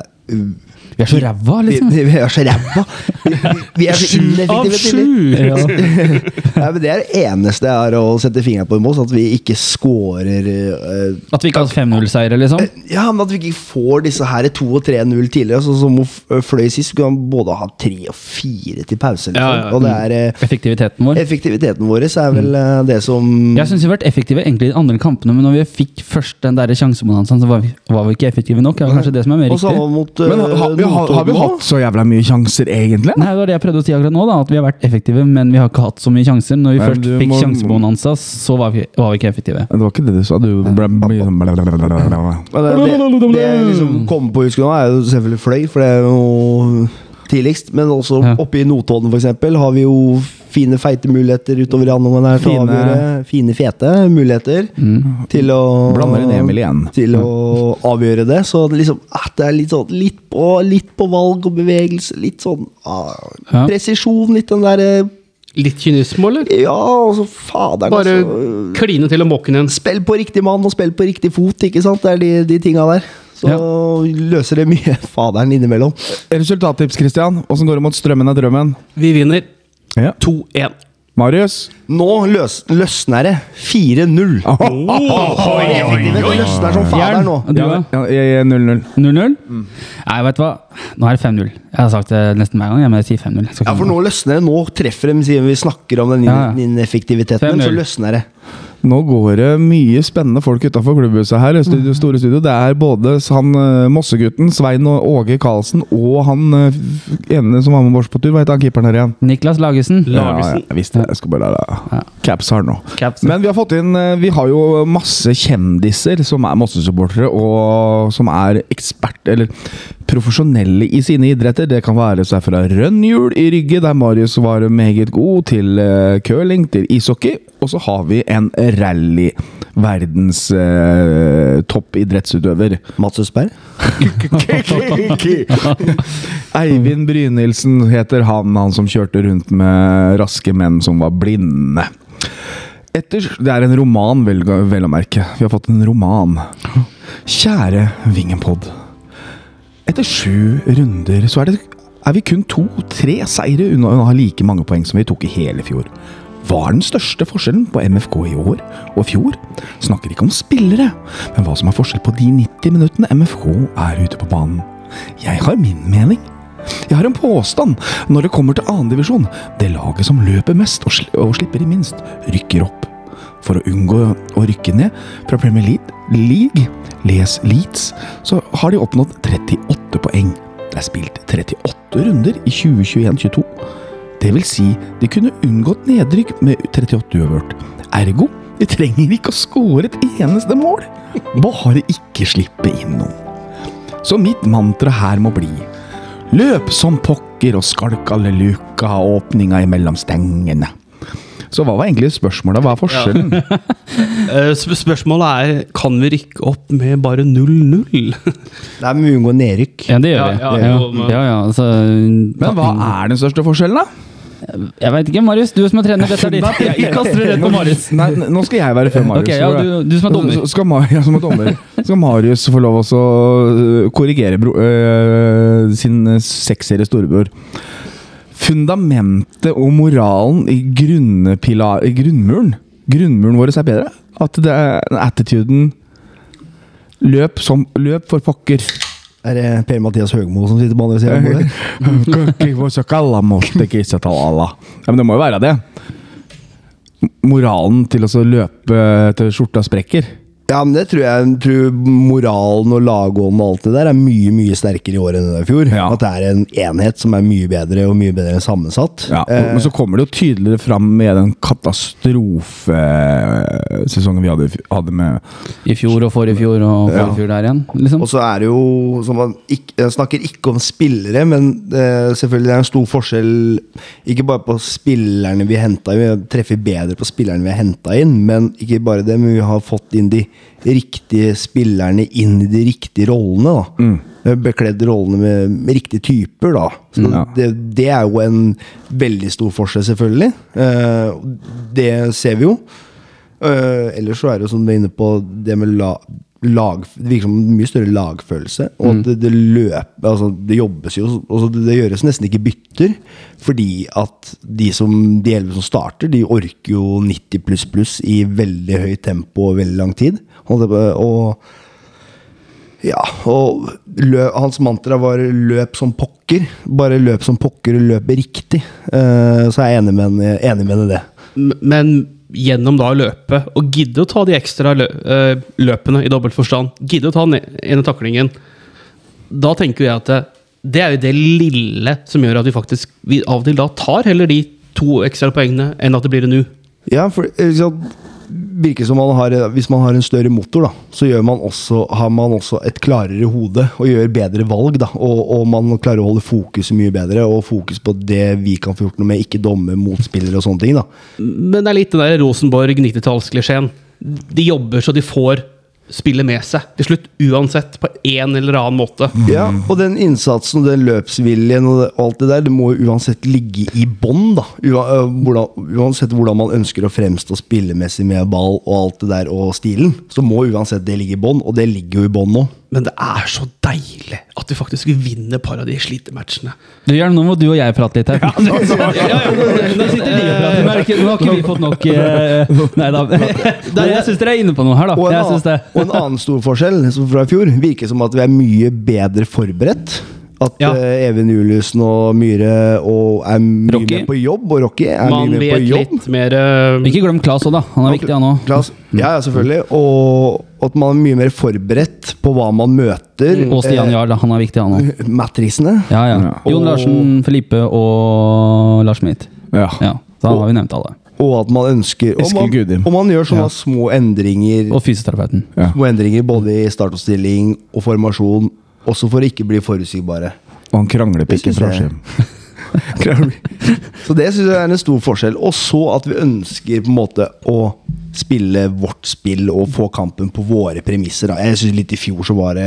B: Vi er så ræva,
D: vi,
B: liksom.
D: vi er så ræva! Vi, vi er så ineffektive. tidlig.
B: Ja.
D: Nei, men det er det eneste jeg har å sette fingeren på i Moss, at vi ikke scorer eh,
B: At vi ikke har 5-0-seiere, liksom.
D: Ja, men at vi ikke får disse her 2 og 3-0 tidligere. Så som hun f- eh, fløy sist, skulle han både ha 3 og 4 til pause. Liksom.
C: Ja, ja, ja.
D: Og det er eh,
B: Effektiviteten vår.
D: Effektiviteten vår er vel eh, det som
B: Jeg syns vi har vært effektive egentlig i de andre kampene, men når vi fikk først den der sjansebonanzaen, så var vi, var vi ikke effektive nok. Det var kanskje det som er mer
D: Og
B: riktig.
D: samme mot eh,
A: Men har, har, vi, har, har vi
D: Notodden nå?
A: hatt så jævla mye sjanser, egentlig?
B: Nei, det var det jeg prøvde å si akkurat nå, da, at vi har vært effektive, men vi har ikke hatt så mye sjanser. Når vi
A: Nei,
B: først
A: du
B: fikk
A: må-
B: sjansebonanza, så var vi, var vi ikke effektive.
A: Det var ikke det du sa. Du ble mye sånn blablabla.
D: Men det, det, det jeg liksom kommer på å huske nå, er jo selvfølgelig Fløy, for det er jo tidligst. Men også
B: Ja.
D: oppe i Notodden, for eksempel, har vi jo fine, feite muligheter utover i andre omgang. her til å
A: Fine-
D: avgjøre. Fine, fete muligheter
B: Mm.
D: til å
A: Blander inn Emil igjen. Mm.
D: til å avgjøre det. Så det, liksom, ah, det er litt sånn litt på, litt på valg og bevegelse. Litt sånn ah,
B: Ja.
D: presisjon, litt den derre
C: Litt kynisme, eller?
D: Ja, altså, faderen,
C: Bare
D: altså.
C: kline til og mokke den.
D: Spill på riktig mann og spill på riktig fot, ikke sant? Det er de, de tinga der. Så løser det mye faderen innimellom.
A: Resultattips, Christian. Åssen går det mot strømmen av drømmen?
C: Vi vinner
A: Ja.
C: 2-1.
A: Marius?
D: Nå løs, løsner det. 4-0. Effektivt. Det løsner som faderen nå.
B: Og Du, da?
A: Ja, jeg- jeg- 0-0.
B: 0-0? Nei, vet du hva. Nå er det 5-0. Jeg har sagt det nesten hver gang, jeg, men jeg sier 5-0. Jeg skal ikke
D: Ja, for nå løsner det. Nå treffer de, siden vi snakker om den
B: Ja, ja.
D: ineffektiviteten, så
B: 5-0.
D: løsner det.
A: Nå går det mye spennende folk utafor klubbhuset her. i Studio, store studio. Det er både han eh, Mossegutten, Svein og Åge Karlsen, og han eh, f- ene som var med oss på tur. Hva heter han keeperen her igjen?
B: Niklas Lagesen.
A: Ja,
C: Lagesen.
A: jeg visste det. Jeg skulle bare la
B: Ja.
A: Caps har nå.
B: Caps.
A: Men vi har fått inn eh, Vi har jo masse kjendiser som er Mosse-supportere, og som er ekspert eller profesjonelle i sine idretter. Det kan være seg fra rønnhjul i Rygge, der Marius var meget god, til eh, curling, til ishockey. Og så har vi en rally. Verdens eh, toppidrettsutøver.
D: Mats Østberg?
A: Eivind Brynildsen heter han, han som kjørte rundt med raske menn som var blinde. Etter, det er en roman, vel, vel å merke. Vi har fått en roman. Kjære Vingenpod. Etter sju runder så er, det, er vi kun to-tre seire unna å ha like mange poeng som vi tok i hele fjor. Hva er den største forskjellen på MFK i år og fjor? Snakker ikke om spillere, men hva som er forskjell på de 90 minuttene MFK er ute på banen. Jeg har min mening. Jeg har en påstand når det kommer til annendivisjon. Det laget som løper mest og, sli og slipper i minst, rykker opp. For å unngå å rykke ned fra Premier League, League les Leeds, så har de oppnådd 38 poeng. Det er spilt 38 runder i 2021-22. Det vil si, de kunne unngått nedrykk med 38 uavgjort. Ergo, de trenger ikke å score et eneste mål. Bare ikke slippe inn noen. Så mitt mantra her må bli Løp som pokker og skalk alle luka og åpninga imellom stengene. Så hva var egentlig spørsmålet? Hva er forskjellen?
C: Eh, sp- Spørsmålet er kan vi rykke opp med bare 0-0.
D: Det er mulig å unngå nedrykk.
B: Ja, det gjør
C: Ja,
B: vi.
C: ja, jo, men-
B: ja, ja, altså,
A: Men hva er den største forskjellen, da?
B: Jeg veit ikke, Marius. Du som er trener, dette er ditt. Jeg kaster det rett på Marius.
A: Nei, n- nå skal jeg være før Marius.
B: Ok, ja, du- du som er dommer.
A: Så Skal, Mar ja, som er dommer. skal Marius få lov også å korrigere bro øh, sin seksserie storebror? Fundamentet og moralen i, grunnpila- i grunnmuren grunnmuren vår er bedre. At det er den attituden Løp som Løp for pokker.
D: Er det Per-Mathias Høgmo som sitter på andre sida av bordet?
A: Ja, men det må jo være det. Moralen til å så løpe til skjorta sprekker.
D: Ja, men det tror jeg tror moralen og lagånden og alt det der er mye mye sterkere i år enn det var i fjor.
A: Ja.
D: At det er en enhet som er mye bedre og mye bedre sammensatt.
A: Ja,
D: Eh,
A: men så kommer det jo tydeligere fram med den katastrofesesongen vi hadde, i fj- hadde med
B: I fjor og forrige fjor og forrige fjor der igjen. Liksom.
D: og så er det jo som man ikk- Jeg snakker ikke om spillere, men eh, selvfølgelig det er en stor forskjell Ikke bare på spillerne vi henta inn, vi treffer bedre på spillerne vi har henta inn, men ikke bare det, men vi har fått inn de riktige spillerne inn i de riktige rollene. da Eh, Bekledd rollene med, med riktige typer, da. Så
A: ja.
D: det, det er jo en veldig stor forskjell, selvfølgelig. Eh, det ser vi jo. Eh, ellers så er det jo som du er inne på, det med la, lag Det virker som en mye større lagfølelse. Og at det, det løper altså Det jobbes jo altså det, det gjøres nesten ikke bytter. Fordi at de som De elleve som starter, de orker jo 90 pluss pluss i veldig høyt tempo og veldig lang tid. Og, det, og ja, og lø, hans mantra var 'løp som pokker'. Bare løp som pokker og løp riktig. Eh, så er jeg enig med henne enig med henne i det.
C: M- Men gjennom da å løpe, og gidde å ta de ekstra lø eh, løpene i dobbelt forstand, gidde å ta den e-, ene taklingen, da tenker jeg at det, det er jo det lille som gjør at vi faktisk vi av og til da tar heller de to ekstra poengene enn at det blir en U.
D: Ja, for eh, ikke sant, virker som man har, eh, Hvis man har en større motor, da, så gjør man også, har man også et klarere hode og gjør bedre valg. Da, og, og man klarer å holde fokuset mye bedre, og fokus på det vi kan få gjort noe med, ikke domme motspillere og sånne ting. da.
C: Men det er litt den der Rosenborg 90-tallsklisjeen. De jobber så de får spillet med seg til slutt, uansett, på en eller annen måte.
D: Ja, og den innsatsen og den løpsviljen og det- og alt det der, det må jo uansett ligge i bånn, da. Ua, øh, hvordan, uansett hvordan man ønsker å fremstå spillemessig med ball og alt det der, og stilen, så må uansett det ligge i bånn, og det ligger jo i bånn nå.
C: Men det er så deilig at vi faktisk vinner et par av de slitematchene.
B: Du, Jørn, nå må du og jeg prate litt her. Nå sitter de og prater. Men er det ikke- Nå har ikke vi fått nok eh, Nei da. Men Jeg syns dere er inne på noe her, da.
D: Og en,
B: Jeg synes det.
D: annen, og en annen stor forskjell som fra i fjor virker som at vi er mye bedre forberedt. At
C: Ja.
D: eh, Even Juliussen og Myhre og er mye
B: Rocky.
D: med på jobb, og Rocky er
C: Man
D: mye med
C: vet
D: på jobb.
C: litt mer eh,
B: Ikke glem Klas òg, da. Han er viktig, han òg.
D: Klas, ja, ja, selvfølgelig. Og at man er mye mer forberedt på hva man møter.
B: Og Stian Jarl, da. han er viktig, han òg.
D: Eh, Matrisene.
B: Ja, ja. Jon Larsen, Felipe og Lars Smith.
A: Ja.
B: Ja, da har vi nevnt alle.
D: Og at man ønsker Og
A: Eskil
D: man,
A: Gudim.
D: og man gjør sånne små endringer
B: Og fysioterapeuten.
A: Ja.
D: Små endringer både i startoppstilling og formasjon, også for å ikke bli forutsigbare.
A: Og han kranglepikken
D: Det synes
A: fra
D: jeg.
A: Askim.
D: Så det syns jeg er en stor forskjell. Og så at vi ønsker på en måte å spille vårt spill og få kampen på våre premisser. Da. Jeg syns litt i fjor så var det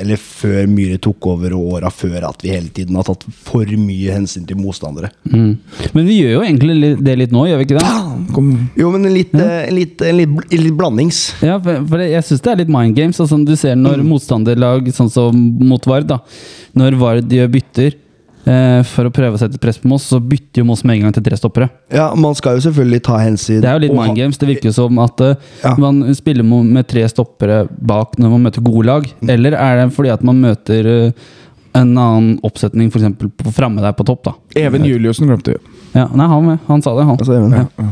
D: Eller før Myhre tok over og åra før at vi hele tiden har tatt for mye hensyn til motstandere.
B: Mm. Men vi gjør jo egentlig li- det litt nå, gjør vi ikke det?
A: Kom.
D: Jo, men en litt, eh, en litt, en litt, bl- en litt blandings.
B: Ja, for for jeg syns det er litt mind games. Altså, du ser når
D: Mm.
B: motstanderlag, sånn som mot Vard, da. Når Vard gjør bytter eh, for å prøve å sette press på Moss, så bytter jo Moss med en gang til tre stoppere.
D: Ja, man skal jo selvfølgelig ta hensyn.
B: Det er jo litt
D: og ha-
B: mind games. Det virker jo som at eh,
D: Ja.
B: man spiller mo- med tre stoppere bak når man møter gode lag.
D: Mm.
B: Eller er det fordi at man møter eh, en annen oppsetning, f.eks. framme der på topp, da.
A: Even Juliussen glemte vi.
B: Ja, nei, han, med. han sa det, han.
D: Altså, Even.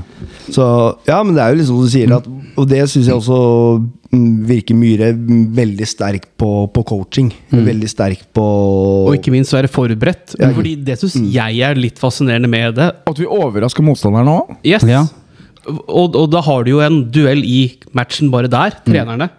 D: Så, ja, men det er jo liksom som du sier, at, og det syns jeg også mm, virker Myhre mm, veldig sterk på, på coaching.
B: Mm.
D: Veldig sterk på
C: Og ikke minst være forberedt. Fordi det syns
B: Mm.
C: jeg er litt fascinerende med det.
A: At vi overrasker motstanderen òg.
C: Yes.
B: Ja.
C: Og, og da har du jo en duell i matchen bare der.
B: Mm.
C: Trenerne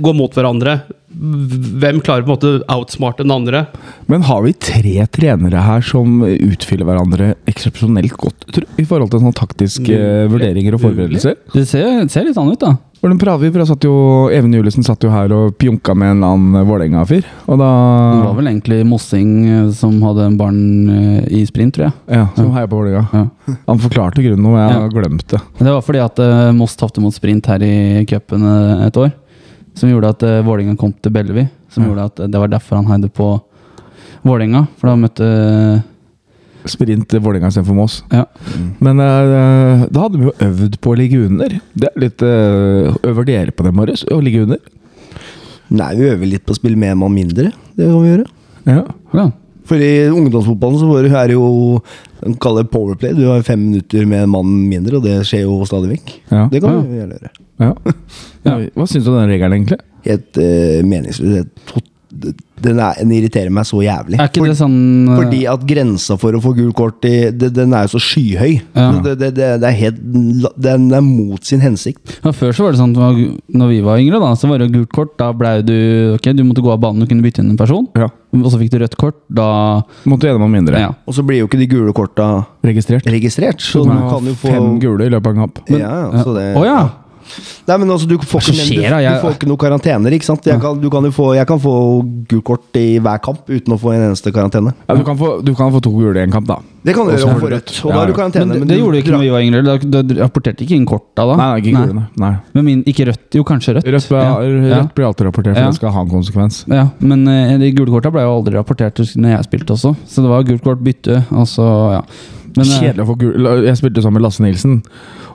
C: går mot hverandre. Hvem klarer på en måte å outsmarte den andre?
A: Men har vi tre trenere her som utfyller hverandre eksepsjonelt godt tror, du, i forhold til sånne taktiske eh, vurderinger og forberedelser?
B: Det ser, ser litt sånn ut, da.
A: For den prater vi, for jeg satt jo, Even Julesen satt jo her og pjunka med en eller annen Vålerenga-fyr. Og da
B: Det var vel egentlig Mossing eh, som hadde en barn eh, i sprint, tror jeg.
A: ja, Som heier på Vålerenga.
B: Ja.
A: Han forklarte grunnen, og jeg
B: Ja.
A: har glemt det.
B: Men det var fordi at eh, Moss tapte mot sprint her i cupen eh, et år. Som gjorde at uh, Vålerenga kom til Bellevue. Som gjorde at eh, det var derfor han heide på Vålerenga. For da møtte
A: Sprint eh, Vålerenga istedenfor Moss.
B: Ja.
A: Men eh, da hadde vi jo øvd på å ligge under. Det er litt eh, Øver dere på det, Marius? Å ligge under?
D: Nei, vi øver litt på å spille med en mann mindre. Det kan vi gjøre.
A: Ja.
B: Ja.
D: For i ungdomsfotballen så var det- er det jo de kaller det powerplay. Du har fem minutter med en mann mindre, og det skjer jo stadig vekk.
A: Ja.
D: Det kan
B: Ja.
D: vi gjerne gjøre.
A: ja. Hva syns du om den regelen, egentlig?
D: Helt eh, meningsløs. Helt tot- Den, er, den irriterer meg så jævlig.
B: Er ikke
D: For-
B: det sånn eh,
D: Fordi at grensa for å få gult kort i, det, Den er jo så skyhøy.
B: Ja.
D: Det, det, det, det er helt, den er mot sin hensikt.
B: ja, Før så var det sånn at når vi var yngre, da, så var det gult kort. Da blei du Ok, du måtte gå av banen og kunne bytte inn en person.
A: Ja.
B: Og så fikk du rødt kort. Da
A: Måtte gjennom en mindre.
B: ja.
D: Og så blir jo ikke de gule korta
A: Registrert.
D: registrert.
A: Så
D: Så
A: du
D: du
A: må
D: kan
A: ha
D: jo få
A: fem gule i løpet av en kamp.
D: Ja, ja, så det,
B: Å ja!
D: Nei, men altså, du får
B: som
D: ikke,
B: skjer
D: du,
B: da? Jeg-
D: du får ikke noe karantener, ikke sant? Jeg kan, du kan jo få, jeg kan få gult kort i hver kamp uten å få en eneste karantene.
A: Ja, eh, du, kan få, du kan få to gule i en kamp, da.
D: Det kan du
A: Og så
D: gjøre
A: får
D: for
A: du
D: rødt.
A: rødt.
D: Og da
A: Ja,
D: har du
A: ja.
D: karantene.
B: Men det, det gjorde du ikke
D: dra-
B: når vi var yngre. Da, da rapporterte ikke inn korta da.
A: Nei, nei, ikke gulene. Nei.
B: Men min, ikke rødt. Jo, kanskje rødt.
A: Rødt, blir-
B: ja.
A: rødt blir alltid rapportert, for
B: Ja.
A: det skal ha en konsekvens.
B: ja. Men eh, de gule korta ble jo aldri rapportert husker jeg, når jeg spilte også. Så det var gult kort, bytte, og så ja. Men, eh,
A: Kjedelig å få gul La- Jeg spilte sammen med Lasse Nilsen,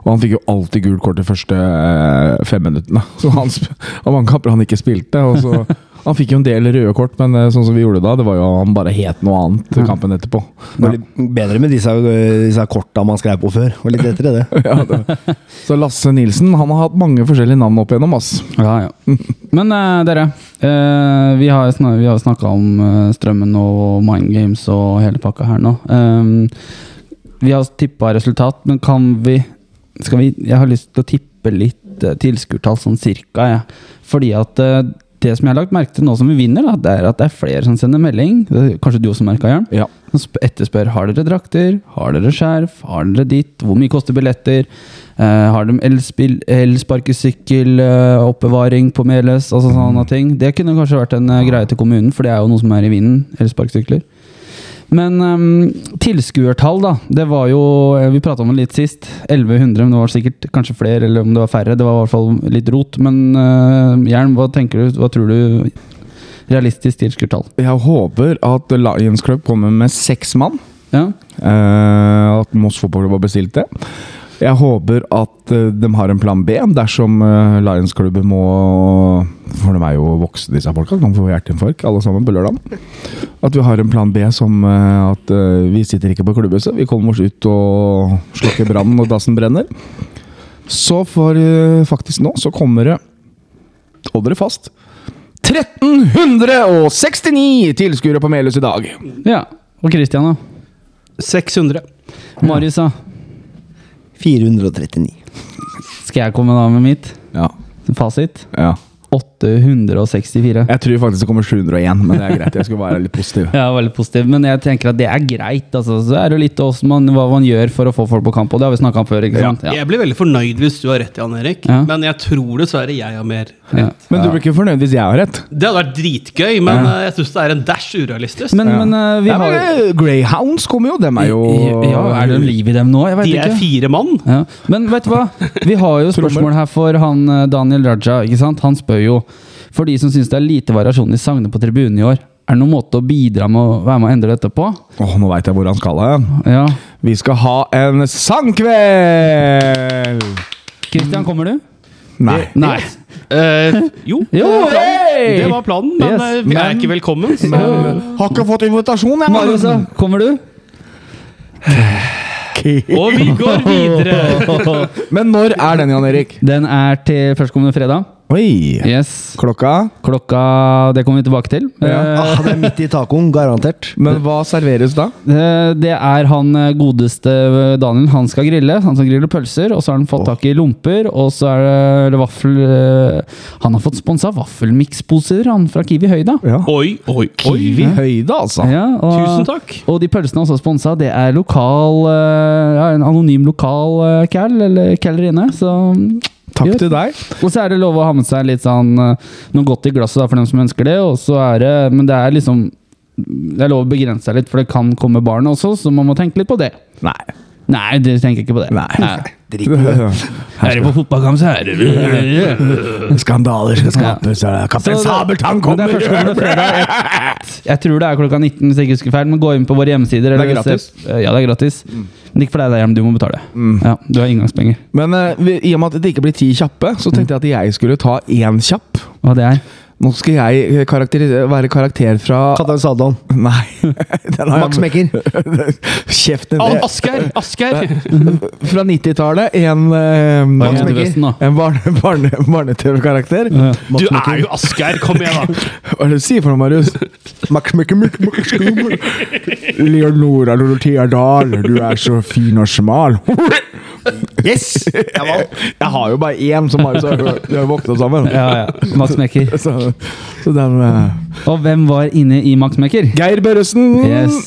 A: og han fikk jo alltid gult kort de første eh, fem minuttene. Så han sp og mange kamper han ikke spilte. Og så, han fikk jo en del røde kort, men eh, sånn som vi gjorde da, det var jo han bare het noe annet til kampen etterpå.
D: Det var litt bedre med disse, disse korta man skrev på før. Og litt etter det.
A: Ja, det. Så Lasse Nilsen han har hatt mange forskjellige navn opp igjennom. ass.
B: Ja, ja. Men eh, dere, eh, vi har sna- vi har snakka om eh, strømmen og Mind Games og hele pakka her nå. Ehm, vi har tippa resultat, men kan vi, skal vi Jeg har lyst til å tippe litt uh, tilskuertall, sånn cirka. jeg. Fordi at eh, det som jeg har lagt merke til nå som vi vinner, da, det er at det er flere som sender melding. Det er Kanskje du også merka, Jørn?
A: Ja.
B: Som sp- etterspør har dere drakter, har dere skjerf, har dere ditt, hvor mye koster billetter, eh, har de elspill- elsparkesykkel, eh, oppbevaring på Meløs, altså sånne ting. Det kunne kanskje vært en eh, greie til kommunen, for det er jo noe som er i vinden, elsparkesykler. Men ehm, tilskuertall, da. Det var jo eh, Vi prata om det litt sist. 1100, men det var sikkert kanskje flere, eller om det var færre. Det var i hvert fall litt rot. Men eh, Jern, hva tenker du? Hva tror du? Realistisk tilskuertall.
A: Jeg håper at Lions Club kommer med seks mann.
B: Ja?
A: Eh, at Moss fotballklubb har bestilt det. Jeg håper at eh, de har en plan B dersom eh, Lions-klubben må For de er jo voksne, disse folka. De får hjerteinfarkt, alle sammen, på lørdag. At vi har en plan B som eh, at eh, vi sitter ikke på klubbhuset. Vi kommer oss ut og slukker brannen når dassen brenner. Så for eh, faktisk nå så kommer det Hold dere fast. 1369 tilskuere på Melhus i dag.
B: ja. Og Christian, da?
C: 600.
B: Marius, da?
D: 439.
B: Skal jeg komme da med mitt
A: Ja,
B: fasit?
A: ja.
B: 864.
A: Jeg tror faktisk det kommer 701, men det er greit. Jeg skulle være litt positiv.
B: Ja, veldig positiv, men jeg tenker at det er greit. Altså, så er det jo litt også man, hva man gjør for å få folk på kamp, og det har vi snakka om før. ikke sant? Ja.
C: Jeg blir veldig fornøyd hvis du har rett, Jan Erik,
B: Ja.
C: men jeg tror dessverre jeg har mer.
B: Ja.
A: Men du blir ikke fornøyd hvis jeg har rett?
C: Det hadde vært dritgøy, men eh, jeg syns det er en dash urealistisk.
B: Men, men eh, vi
A: Nei,
B: har
A: men, eh, Greyhounds kommer jo, dem er jo
B: Ja, er det liv i dem nå? Jeg vet
C: de er
B: ikke.
C: fire mann.
B: Ja. Men vet du hva? Vi har jo spørsmål her for han eh, Daniel Raja. ikke sant? Han spør jo for de som syns det er lite variasjon i sangene på tribunen i år. Er det noen måte å bidra med å være med å endre dette på?
A: Åh, nå veit jeg hvor han skal hen.
B: Ja.
A: Vi skal ha en sangkveld!
B: Christian, kommer du?
A: Nei.
B: Nei.
C: Eh, jo,
B: Jo,
C: det var planen.
B: hey!
C: det var planen, men
B: Yes,
C: eh, vi er
B: men-
C: ikke velkommen. Så.
A: Har ikke fått invitasjon, jeg. altså.
B: Marius, da? kommer du?
C: Og vi går videre!
A: Men når er den, Jan Erik?
B: Den er til førstkommende fredag.
A: Oi.
B: Yes.
A: Klokka?
B: Klokka Det kommer vi tilbake til.
A: Ja.
D: Ah, det er midt i tacoen, garantert.
A: Men hva serveres da?
B: Eh, Det er han eh, godeste eh, Daniel. Han skal grille. Han skal grille pølser, og så har han fått tak i lomper, og så er det eller vaffel eh, Han har fått sponsa vaffelmiksposer, han fra Kiwi Høyda.
A: Ja.
C: Oi, oi, oi.
A: Kiwi høyde, altså.
B: Ja, og,
C: Tusen takk.
B: Og de pølsene han også har sponsa, det er lokal eh, ja, En anonym lokal eh, cal, eller callerine. Så
A: Takk
B: gjør.
A: til deg.
B: Og så er det lov å ha med seg litt sånn eh, noe godt i glasset da, for dem som ønsker det. Og så er det, men det er liksom Det er lov å begrense seg litt, for det kan komme barn også, så man må tenke litt på det.
A: Nei.
B: Nei, dere tenker ikke på det.
A: Nei.
D: Drit i det.
B: Er det på fotballkamp, så er det
A: Skandaler skal skapes. Ja. Kaptein Sabeltann
B: Men det
A: kommer!
B: er førstkommende fredag. Jeg- Jeg tror det er klokka 19, hvis jeg ikke husker feil. Men gå inn på våre hjemmesider.
A: Det er
B: eller se- Eh,
A: gratis. Mm.
B: Ja, det er gratis. Men ikke for deg der hjemme, du må betale. Ja, du har inngangspenger.
A: Men eh, vi- i og med at det ikke blir ti kjappe, så tenkte jeg at jeg skulle ta én kjapp.
B: Hva det er?
A: Nå skal jeg eh, karakteris- være karakter fra
D: Kaptein Sadlan.
A: Nei. Den har jeg-
D: Max Mekker.
A: Kjeften
C: Al-
A: din.
C: Asgeir! Asgeir!
A: Fra 90-tallet. En, eh,
B: Max
A: en-
B: Mekker. Midtvesten, da.
A: en barne- barne- barne-TV-karakter.
B: Ja,
C: Du
B: Mats Mikkel.
C: er jo Asgeir! Kom igjen, da!
A: Hva er det du sier for noe, Marius?
D: Max Mekker, Max Mekker, skummer.
A: Leonora Lolothea Dahl, du er så fin og smal.
D: Yes! Jeg vant.
A: Jeg har jo bare én som Marius har hørt. Vi har våkna sammen.
B: Ja, ja. Max Mekker.
A: Så, så den eh,
B: Og hvem var inne i Max Mekker?
A: Geir Børresen.
B: Yes.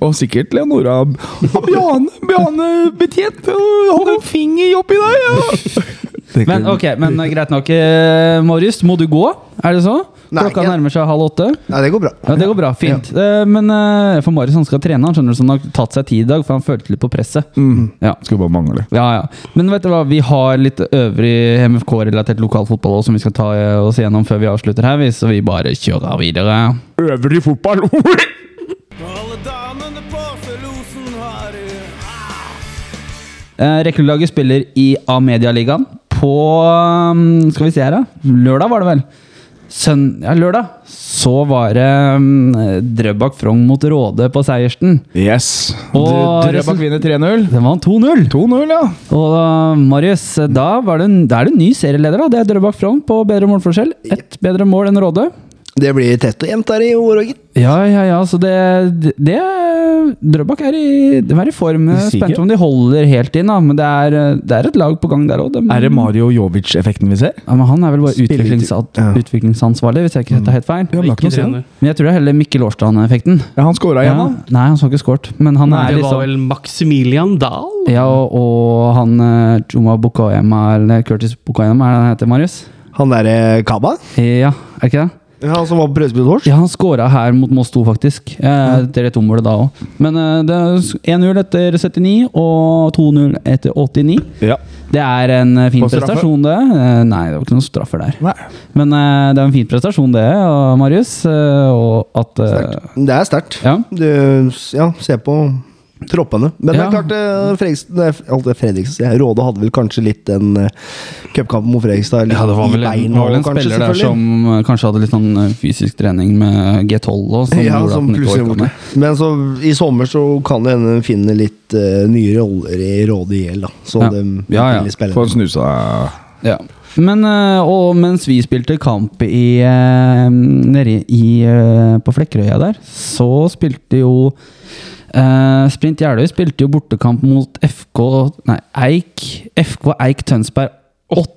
A: Og sikkert Leonora og Bjarne, Bjarne Betjent. Hold en finger oppi deg! Ja.
B: Men ok, men eh, greit nok. eh, Marius, må du gå? Er det så?
D: Nei,
B: Klokka
D: ikke.
B: nærmer seg halv åtte.
D: Nei, det går bra.
B: Ja, Det går bra. Fint. Eh, Men eh, for Marius han skal trene, han skjønner du, så han har tatt seg tid i dag, for han følte litt på presset. Ja.
A: Skulle bare mangle.
B: Ja, ja. Men vet du hva, vi har litt øvrig MFK-relatert lokal fotball også, som vi skal ta eh, oss gjennom før vi avslutter her, vi, så vi bare kjører videre.
A: Øvrig fotball!
F: Alle damene på Osen har
B: Eh, Rekruttlaget spiller i A-medialigaen på um, Skal vi se her, da. Lørdag var det vel? Søn ja, lørdag. Så var det um, Drøbak Frogn mot Råde på Seiersten.
A: Yes.
B: Og
A: Dr- Drøbak
B: resul-
A: vinner 3-0.
B: Den vant 2-0.
A: 2-0, ja.
B: Og uh, Marius, da, var det, en- da er du ny serieleder. da. Det er Drøbak Frogn på bedre målforskjell. Ett bedre mål enn Råde.
D: Det blir tett og jevnt her i år òg, gitt.
B: Ja, ja, ja. Så det, det- det Drøbak er i, de er i form. Jeg er
A: Sikkert.
B: Spent om de holder helt inn, da. Men det er, det er et lag på gang der òg.
A: Er det Mario Jovic-effekten vi ser?
B: Ja, men han er vel bare
D: Spiller-
B: utviklingsa-
D: ja.
B: utviklingsansvarlig, hvis jeg ikke tar helt feil.
A: Ja, men det er ikke noe å si om.
B: Men jeg tror det er heller Mikkel Årstrand-effekten.
A: Ja, han scora igjen,
B: Ja.
A: da.
B: Nei, han skal ikke scoret, men han er
C: Det var
B: liksom
C: vel Maximilian Dahl?
B: ja, og, og han eh, Chuma Bukoyama, eller Curtis Bukoyama, er det han heter, Marius?
D: Han eh, derre Kaba?
B: Ja, er det ikke det?
D: Han som var på prøvespill vårt?
B: Ja, han scora her mot Moss 2, faktisk. Eh, det er et område da òg. Men eh, det er 1-0 etter 79 og 2-0 etter 89.
A: Ja.
B: Det er en eh, fin
A: På straffe?
B: prestasjon, det. Eh, nei, det var ikke noen straffer der.
A: Nei.
B: Men eh, det er en fin prestasjon, det, av Marius. Eh, og at eh,
D: Det er sterkt.
B: Ja.
D: Du ja, se på troppene. Men det
B: Ja.
D: er klart eh, Fredrikstad nei, alt det Fredrikstad, sier jeg. Råde hadde vel kanskje litt den eh, cupkampen mot Fredrikstad litt
B: ja, det var vel
D: i
B: en,
D: beina
B: var vel en
D: også, kanskje,
B: spiller der
D: selvfølgelig.
B: som eh, kanskje hadde litt sånn eh, fysisk trening med G12 og sånn.
D: ja, som plutselig borte. Men så, i sommer så kan det hende de finner litt eh, nye roller i Råde IL, da. Så
B: Ja.
D: de
B: Ja, ja.
D: blir spennende.
A: Få en snusa
B: Ja. Men, eh, og mens vi spilte kamp i, eh, nede i, eh, på Flekkerøya der, så spilte jo eh, Sprint Jeløy spilte jo bortekamp mot FK Nei, Eik FK Eik Tønsberg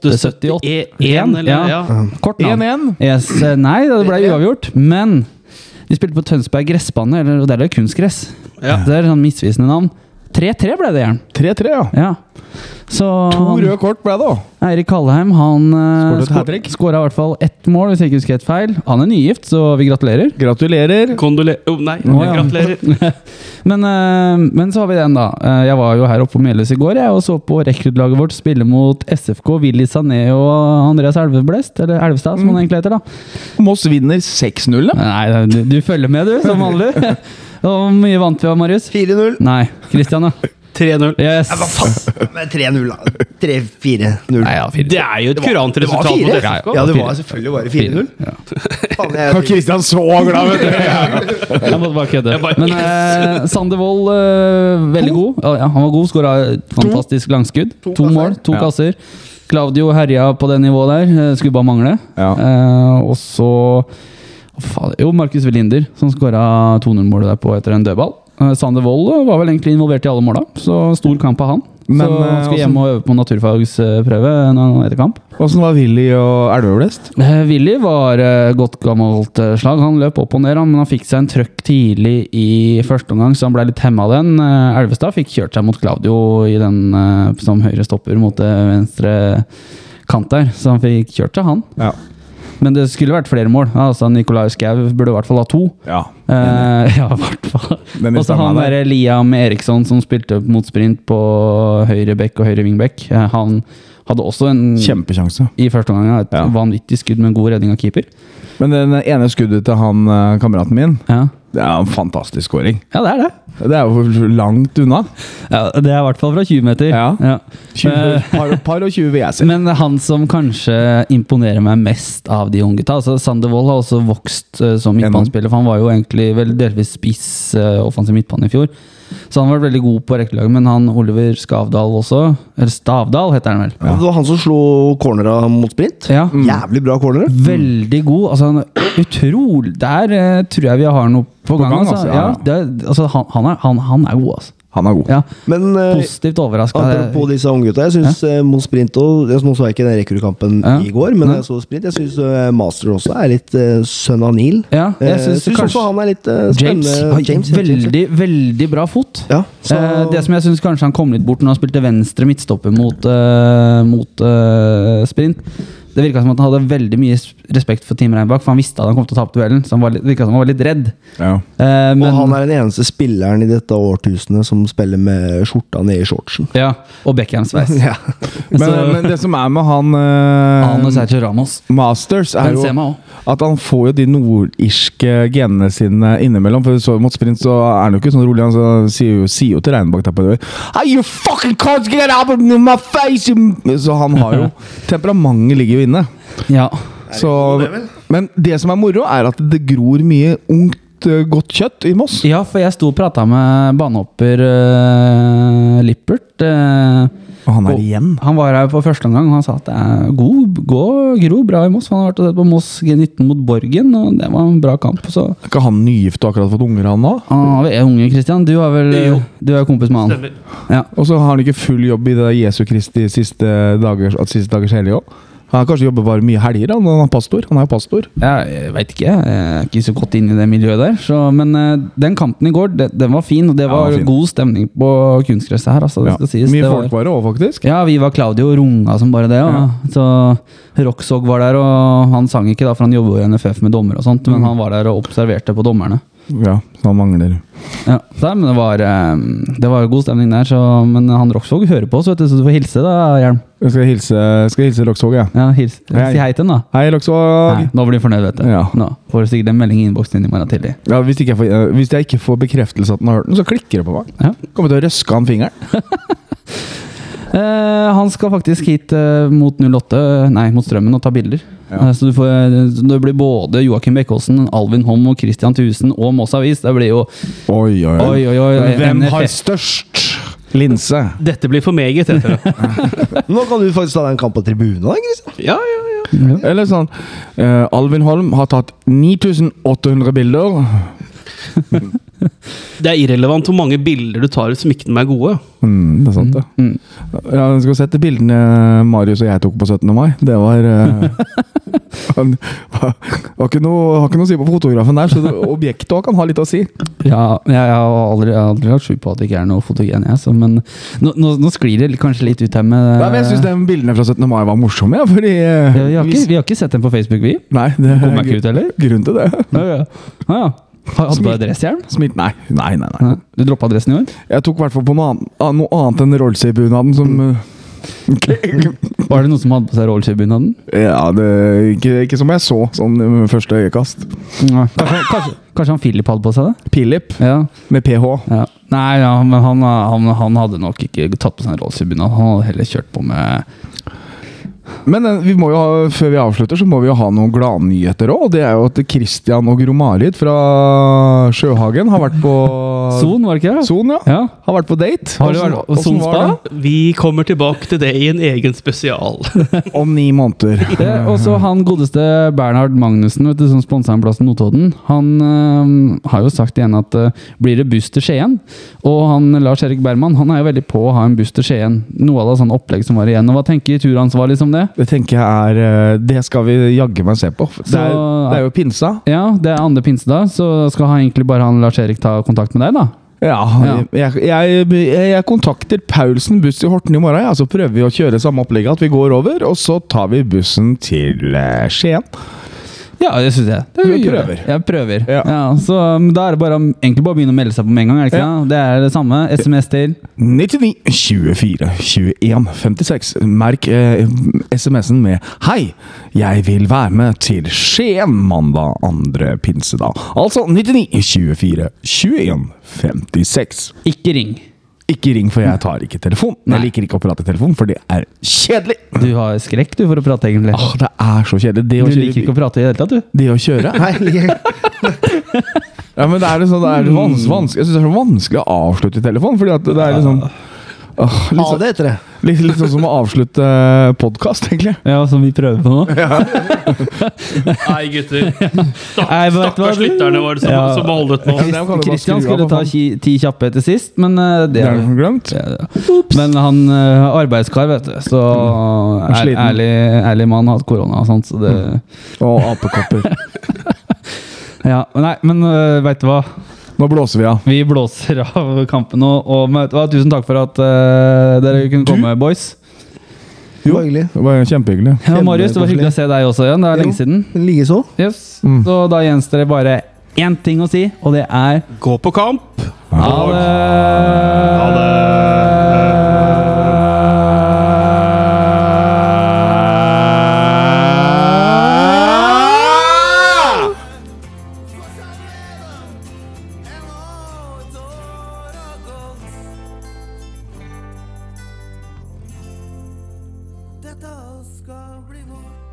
B: 871.
C: 871, eller?
B: Ja.
C: Ja.
B: Kort navn.
A: 1-1.
B: Yes, eh, nei, det ble uavgjort. Men de spilte på Tønsberg gressbane, eller, og der er det kunstgress.
C: Ja.
B: Det er sånn misvisende navn. 3-3 ble det, Jern.
A: 3-3, ja.
B: Ja. Så
A: To
B: han-
A: røde kort ble det òg.
B: Eirik Kallheim han
A: Skåret et
B: skåra
A: hat-trick.
B: i hvert fall ett mål, hvis jeg ikke husker helt feil. Han er nygift, så vi gratulerer.
A: Gratulerer.
C: Kondolerer oh, Nei,
B: Å, ja.
C: gratulerer.
B: Men, eh, men så har vi den, da. Eh, Jeg var jo her oppe på Melhus i går jeg, og så på rekruttlaget vårt spille mot SFK, Willy Sané og Andreas Elveblest, eller Elvestad,
A: Mm.
B: som han egentlig heter. da
A: Moss vinner 6-0, da.
B: Nei, du, du følger med, du, som vanlig. Og Hvor mye vant vi av, Marius?
D: 4-0.
B: Nei, Christian, da.
C: 3-0.
B: Yes.
D: Ja, hva faen? Men 3-0, da. 3-4-0.
B: Nei, ja, fire.
C: Det er jo et kurant
D: Det var
C: resultat. mot
D: fire!
C: FK.
D: Ja, det var selvfølgelig bare 4-0.
B: Ja.
D: Faen, jeg-
A: Kristian så glad, vet du.
B: Jeg måtte bare kødde.
C: Jeg bare-
B: Men eh, Sander Wold, eh, veldig god. Ja, ja, han var god, skåra fantastisk langskudd. To, mål, to
A: Ja.
B: kasser. Claudio herja på det nivået der. eh, Skulle bare mangle.
A: Ja.
B: Eh, og så Å, faen, Jo, Markus Velinder, som skåra 2-0-målet der på etter en dødball. Eh, Sander Wold eh, var vel egentlig involvert i alle måla, så stor kamp av han.
A: Men,
B: så han
A: eh,
B: skal
A: også-
B: hjem og øve på naturfagsprøve nå etter kamp.
A: Åssen var Willy og Elveblest?
B: Eh, Willy var eh, godt gammelt eh, slag. Han løp opp og ned, han, men han fikk seg en trøkk tidlig i første omgang, så han ble litt hemma av den. Eh, Elvestad fikk kjørt seg mot Claudio i den eh, som høyre stopper mot eh, venstre kant der, så han fikk kjørt seg, han.
A: Ja.
B: Men det skulle vært flere mål. Altså, Nicolai Skau burde i hvert fall ha to.
A: Ja.
B: Eh, ja, i hvert fall.
A: Den er
B: Og så han
A: stemmen der.
B: derre Liam Eriksson som spilte mot sprint på høyre bekk og høyre vingbekk. Eh, han hadde også en
A: Mm. Kjempesjanse.
B: i første omgang et
A: Ja.
B: vanvittig skudd med en god redning av keeper.
A: Men den ene skuddet til han eh, kameraten min,
B: Ja,
A: det er en fantastisk scoring.
B: ja det er det.
A: Det er jo langt unna.
B: Ja, det er i hvert fall fra 20 meter.
A: Ja.
B: Ja.
A: 20, par, par og 20, vil jeg si.
B: Men han som kanskje imponerer meg mest av de unge gutta altså Sander Wold har også vokst eh, som midtbanespiller, for han var jo egentlig vel delvis spiss eh, offensiv midtbane i fjor. Så han var veldig god på rekkelaget, men han Oliver Skavdal også Eller Stavdal, heter han vel.
D: Det var han som slo cornera mot sprint.
B: Ja.
D: Jævlig bra cornere.
B: Veldig god. Altså, han, utrolig Der eh, tror jeg vi har noe på, gang.
A: gang,
B: altså.
A: altså,
B: Ja,
A: ja.
B: det, altså, han, han, er, han, han er god, altså.
A: Han er god.
B: Ja.
D: Men eh,
B: Positivt overraska.
D: apropos disse unggutta. Jeg syns eh, mot sprint og jeg- Nå så jeg ikke den rekurkampen
B: Ja.
D: i går, men
B: Nei.
D: jeg så sprint. Jeg syns Master også er litt eh, sønn av Neil.
B: Ja, jeg
D: Eh,
B: synes
D: synes
B: kanskje-
D: også han er litt eh,
B: James
D: spennende.
B: har
D: ja,
B: veldig, veldig bra fot.
D: Ja, så-
B: Eh, det som jeg syns kanskje han kom litt bort når han spilte venstre midtstopper mot, eh, mot eh, sprint Det virka som at han hadde veldig mye s- respekt for Team Reinbach, for han visste at han kom til å tape duellen, så han var litt, virka som han var litt redd.
A: Ja.
B: Eh, men,
D: og han er den eneste spilleren i dette årtusenet som spiller med skjorta nede i shortsen.
B: ja, og Beckham-sveis.
D: Ja.
A: Men, eh,
B: Så-
A: men det som er med han eh,
B: Han og Sergio Ramos.
A: Masters er jo
B: Benzema også.
A: at han får jo de nordirske genene sine innimellom. For så mot sprint så er han jo ikke sånn rolig. Han så sier jo, sier jo til Reinbakk der på døra «Hey, you fucking can't get up in my face! you-" Så han har jo Temperamentet ligger jo inne.
B: Ja.
A: Så, men det som er moro, er at det gror mye ungt, eh, godt kjøtt i Moss.
B: ja, for jeg sto og prata med banehopper eh, Lippert. eh,
A: Og han er
B: Og-
A: igjen.
B: Han var her på første omgang, og han sa at det er god, gå, gro bra i Moss. Han har vært og sett på Moss G19 mot Borgen, og det var en bra kamp. Så
A: Er ikke han nygift og akkurat fått unger, han da?
B: han har vel- er unge, Christian. Du, har vel,
C: Jo.
B: du er jo kompis med han.
C: Stemmer.
B: Ja.
A: Og så har han ikke full jobb i det der Jesu Kristi siste dagers, at siste dagers hellige òg. Han kanskje jobber bare mye helger, han, han er pastor. Han er jo pastor.
B: Jeg veit ikke, jeg er ikke så godt inn i det miljøet der. Så, men eh, den kampen i går, det, den var fin, og det
A: Ja,
B: var
A: den var fin.
B: god stemning på kunstgresset her. Altså, det
A: Ja.
B: skal sies.
A: Mye
B: det var,
A: folkvare òg, faktisk.
B: Ja, vi var Claudio og runga som bare det. Ja. Så Roxhog var der, og han sang ikke, da, for han jobber jo i NFF med dommer og sånt,
A: Mm.
B: men han var der og observerte på dommerne.
A: Ja, så han mangler
B: Ja, så, men det var, eh, det var god stemning der, så, men han Roxhog hører på oss, vet du, så du får hilse, da, Hjelm.
A: Jeg skal hilse, skal hilse Lokshog, jeg.
B: Ja, hils,
A: Hei.
B: Si hei til han, da.
A: Hei, Lokshog!
B: Nei, nå blir han fornøyd, vet du.
A: Ja.
B: Nå får du sikkert en melding i innboksen din i morgen tidlig.
A: Ja, hvis, ikke jeg får, eh, hvis jeg ikke får bekreftelse at han har hørt den, så klikker det på meg.
B: Ja.
A: Kommer til å røske han fingeren.
B: Eh, han skal faktisk hit eh, mot 08, nei, mot Strømmen og ta bilder. Eh, så du får, eh, det blir både Joakim Bekkåsen, Alvin Holm og Christian Thusen og Moss Avis. Det blir jo
A: Oi, oi,
B: Oi, oi, oi.
A: Hvem
B: NFF.
A: har størst linse?
C: Dette blir for meget, heter det.
D: Nå kan du faktisk ta den kampen på tribunen. da, Christian.
C: Ja, ja, ja.
A: Eller sånn eh, Alvin Holm har tatt 9800 bilder.
C: Det er irrelevant hvor mange bilder du tar ut som ikke de er gode.
A: Mm, det er sant, det.
B: Mm.
A: Ja, du skal sette bildene Marius og jeg tok på 17. mai. Det var eh, han, Har ikke noe har ikke noe å si på fotografen der, så det, objektet også kan ha litt å si.
B: Ja, jeg har aldri, jeg har aldri hatt skjul på at det ikke er noe fotogen, jeg. Så, men nå, nå, nå sklir det kanskje litt ut her med
A: Nei, men jeg syns bildene fra 17. mai var morsomme, ja, fordi eh,
B: vi, har ikke,
A: hvis-
B: vi har ikke sett den på Facebook, vi.
A: Nei, det
B: Kommer jeg ikke ut, eller?
A: grunn til det.
B: Ja, ja. Ah, ja. Har- Hadde du
A: Smil.
B: bare dresshjelm?
A: Smilt Nei, nei, nei. nei.
B: Ja. Du droppa dressen i år?
A: Jeg tok i hvert fall på noe annet, ah, noe annet enn Rollsøy-bunaden som
B: Mm.
A: eh,
B: Var det noen som hadde på seg rollsøybunaden?
A: Ja, det, ikke, ikke som jeg så, sånn med første øyekast.
B: Kanskje, kanskje, kanskje han Philip hadde på seg det?
A: Pilip
B: Ja.
A: med ph.
B: ja. Nei, ja, men han, han, han hadde nok ikke tatt på seg en rollsøybunad. Han hadde heller kjørt på med
A: Men eh, vi må jo ha, før vi avslutter, så må vi jo ha noen gladnyheter òg. Det er jo at Christian og Gromarit fra Sjøhagen har vært på
B: Son, var det ikke det?
A: Son, ja.
B: Ja.
A: Har vært på date.
B: Har
A: Hvordan-
B: du vært på
A: hvordan
B: Sonspa?
A: var det?
C: Vi kommer tilbake til det i en egen spesial.
A: Om ni måneder.
B: Det, Eh, og så han godeste Bernhard Magnussen, vet du, som sponsa en plass i Notodden. Han øhm, har jo sagt igjen at øh, blir det buss til Skien? Og han Lars Erik Berman han er jo veldig på å ha en buss til Skien. Noe av det sånn opplegg som var igjen. Og hva tenker turansvarlig som liksom det?
A: Det tenker jeg er eh, Det skal vi jaggu meg se på. Det er,
B: Så-
A: det er jo pinsa.
B: Ja, det er andre pinsedag, så skal han egentlig bare han Lars Erik ta kontakt med deg, da.
A: Ja, Jeg, jeg, jeg kontakter Paulsen buss i Horten i morgen, Altså, ja, så prøver vi å kjøre samme opplegget. At vi går over, og så tar vi bussen til eh, Skien.
B: Ja, det syns jeg. Det
A: Du
B: gjør
A: prøver.
B: det. Jeg prøver.
A: Ja.
B: Ja. så um, Da er det bare, å- egentlig bare å begynne å melde seg på med en gang. er Det ikke
A: Ja.
B: det? Det er det samme. SMS til.
A: 99 24 21 56. Merk eh, SMS-en med 'Hei, jeg vil være med til Skien mandag andre pinsedag'. Altså 99 24 21 56.
B: Ikke ring.
A: Ikke ring, for jeg tar ikke telefon.
B: Nei.
A: Jeg liker ikke å prate i telefon, for det er kjedelig!
B: Du har skrekk du for å prate, egentlig.
A: Åh, det er så kjedelig. Det
B: Du
A: å
B: liker ikke
A: kjøre,
B: å prate i det hele tatt, du.
A: det å kjøre
D: Nei, jeg-
A: Ja, men det er liksom, det er
B: Mm.
A: vans, vanskelig Jeg synes det er så vanskelig å avslutte i telefon, fordi at det er liksom Åh, litt,
D: ha
A: så,
D: det etter det.
A: litt, litt sånn som å avslutte podkast, egentlig.
B: Ja, som vi prøver på nå.
C: Nei, gutter. Stak-
B: Nei, vet du hva?
C: Stakkars lytterne våre som,
B: Ja.
C: som holdet nå.
A: Ja, det kan du bare skru
B: Kristian
A: av,
B: skulle
A: for
B: ta
A: faen.
B: ki- ti kjappe etter sist, men uh, det
A: Det er jo glemt.
B: Ja, ja. Men han eh, har arbeidskar, vet du. Så er,
A: Mm. sliten. Mm.
B: ærlig, ærlig mann har hatt korona og sånt, så det
A: Og apekopper.
B: Ja, nei, men uh, veit du hva?
A: Nå blåser vi av.
B: Vi blåser av kampen nå. Og men vet du hva? tusen takk for at eh, dere kunne komme, boys.
D: Det var hyggelig.
A: Det var kjempehyggelig.
B: Ja, Marius, det var hyggelig å se deg også igjen. Det er lenge
D: Jo.
B: siden.
D: Likeså.
B: Yes.
A: Mm.
B: Så da gjenstår det bare én ting å si, og det er
C: Gå på kamp!
B: Ha det!
C: Ha
F: En år, et år har gått. Dette skal bli vårt.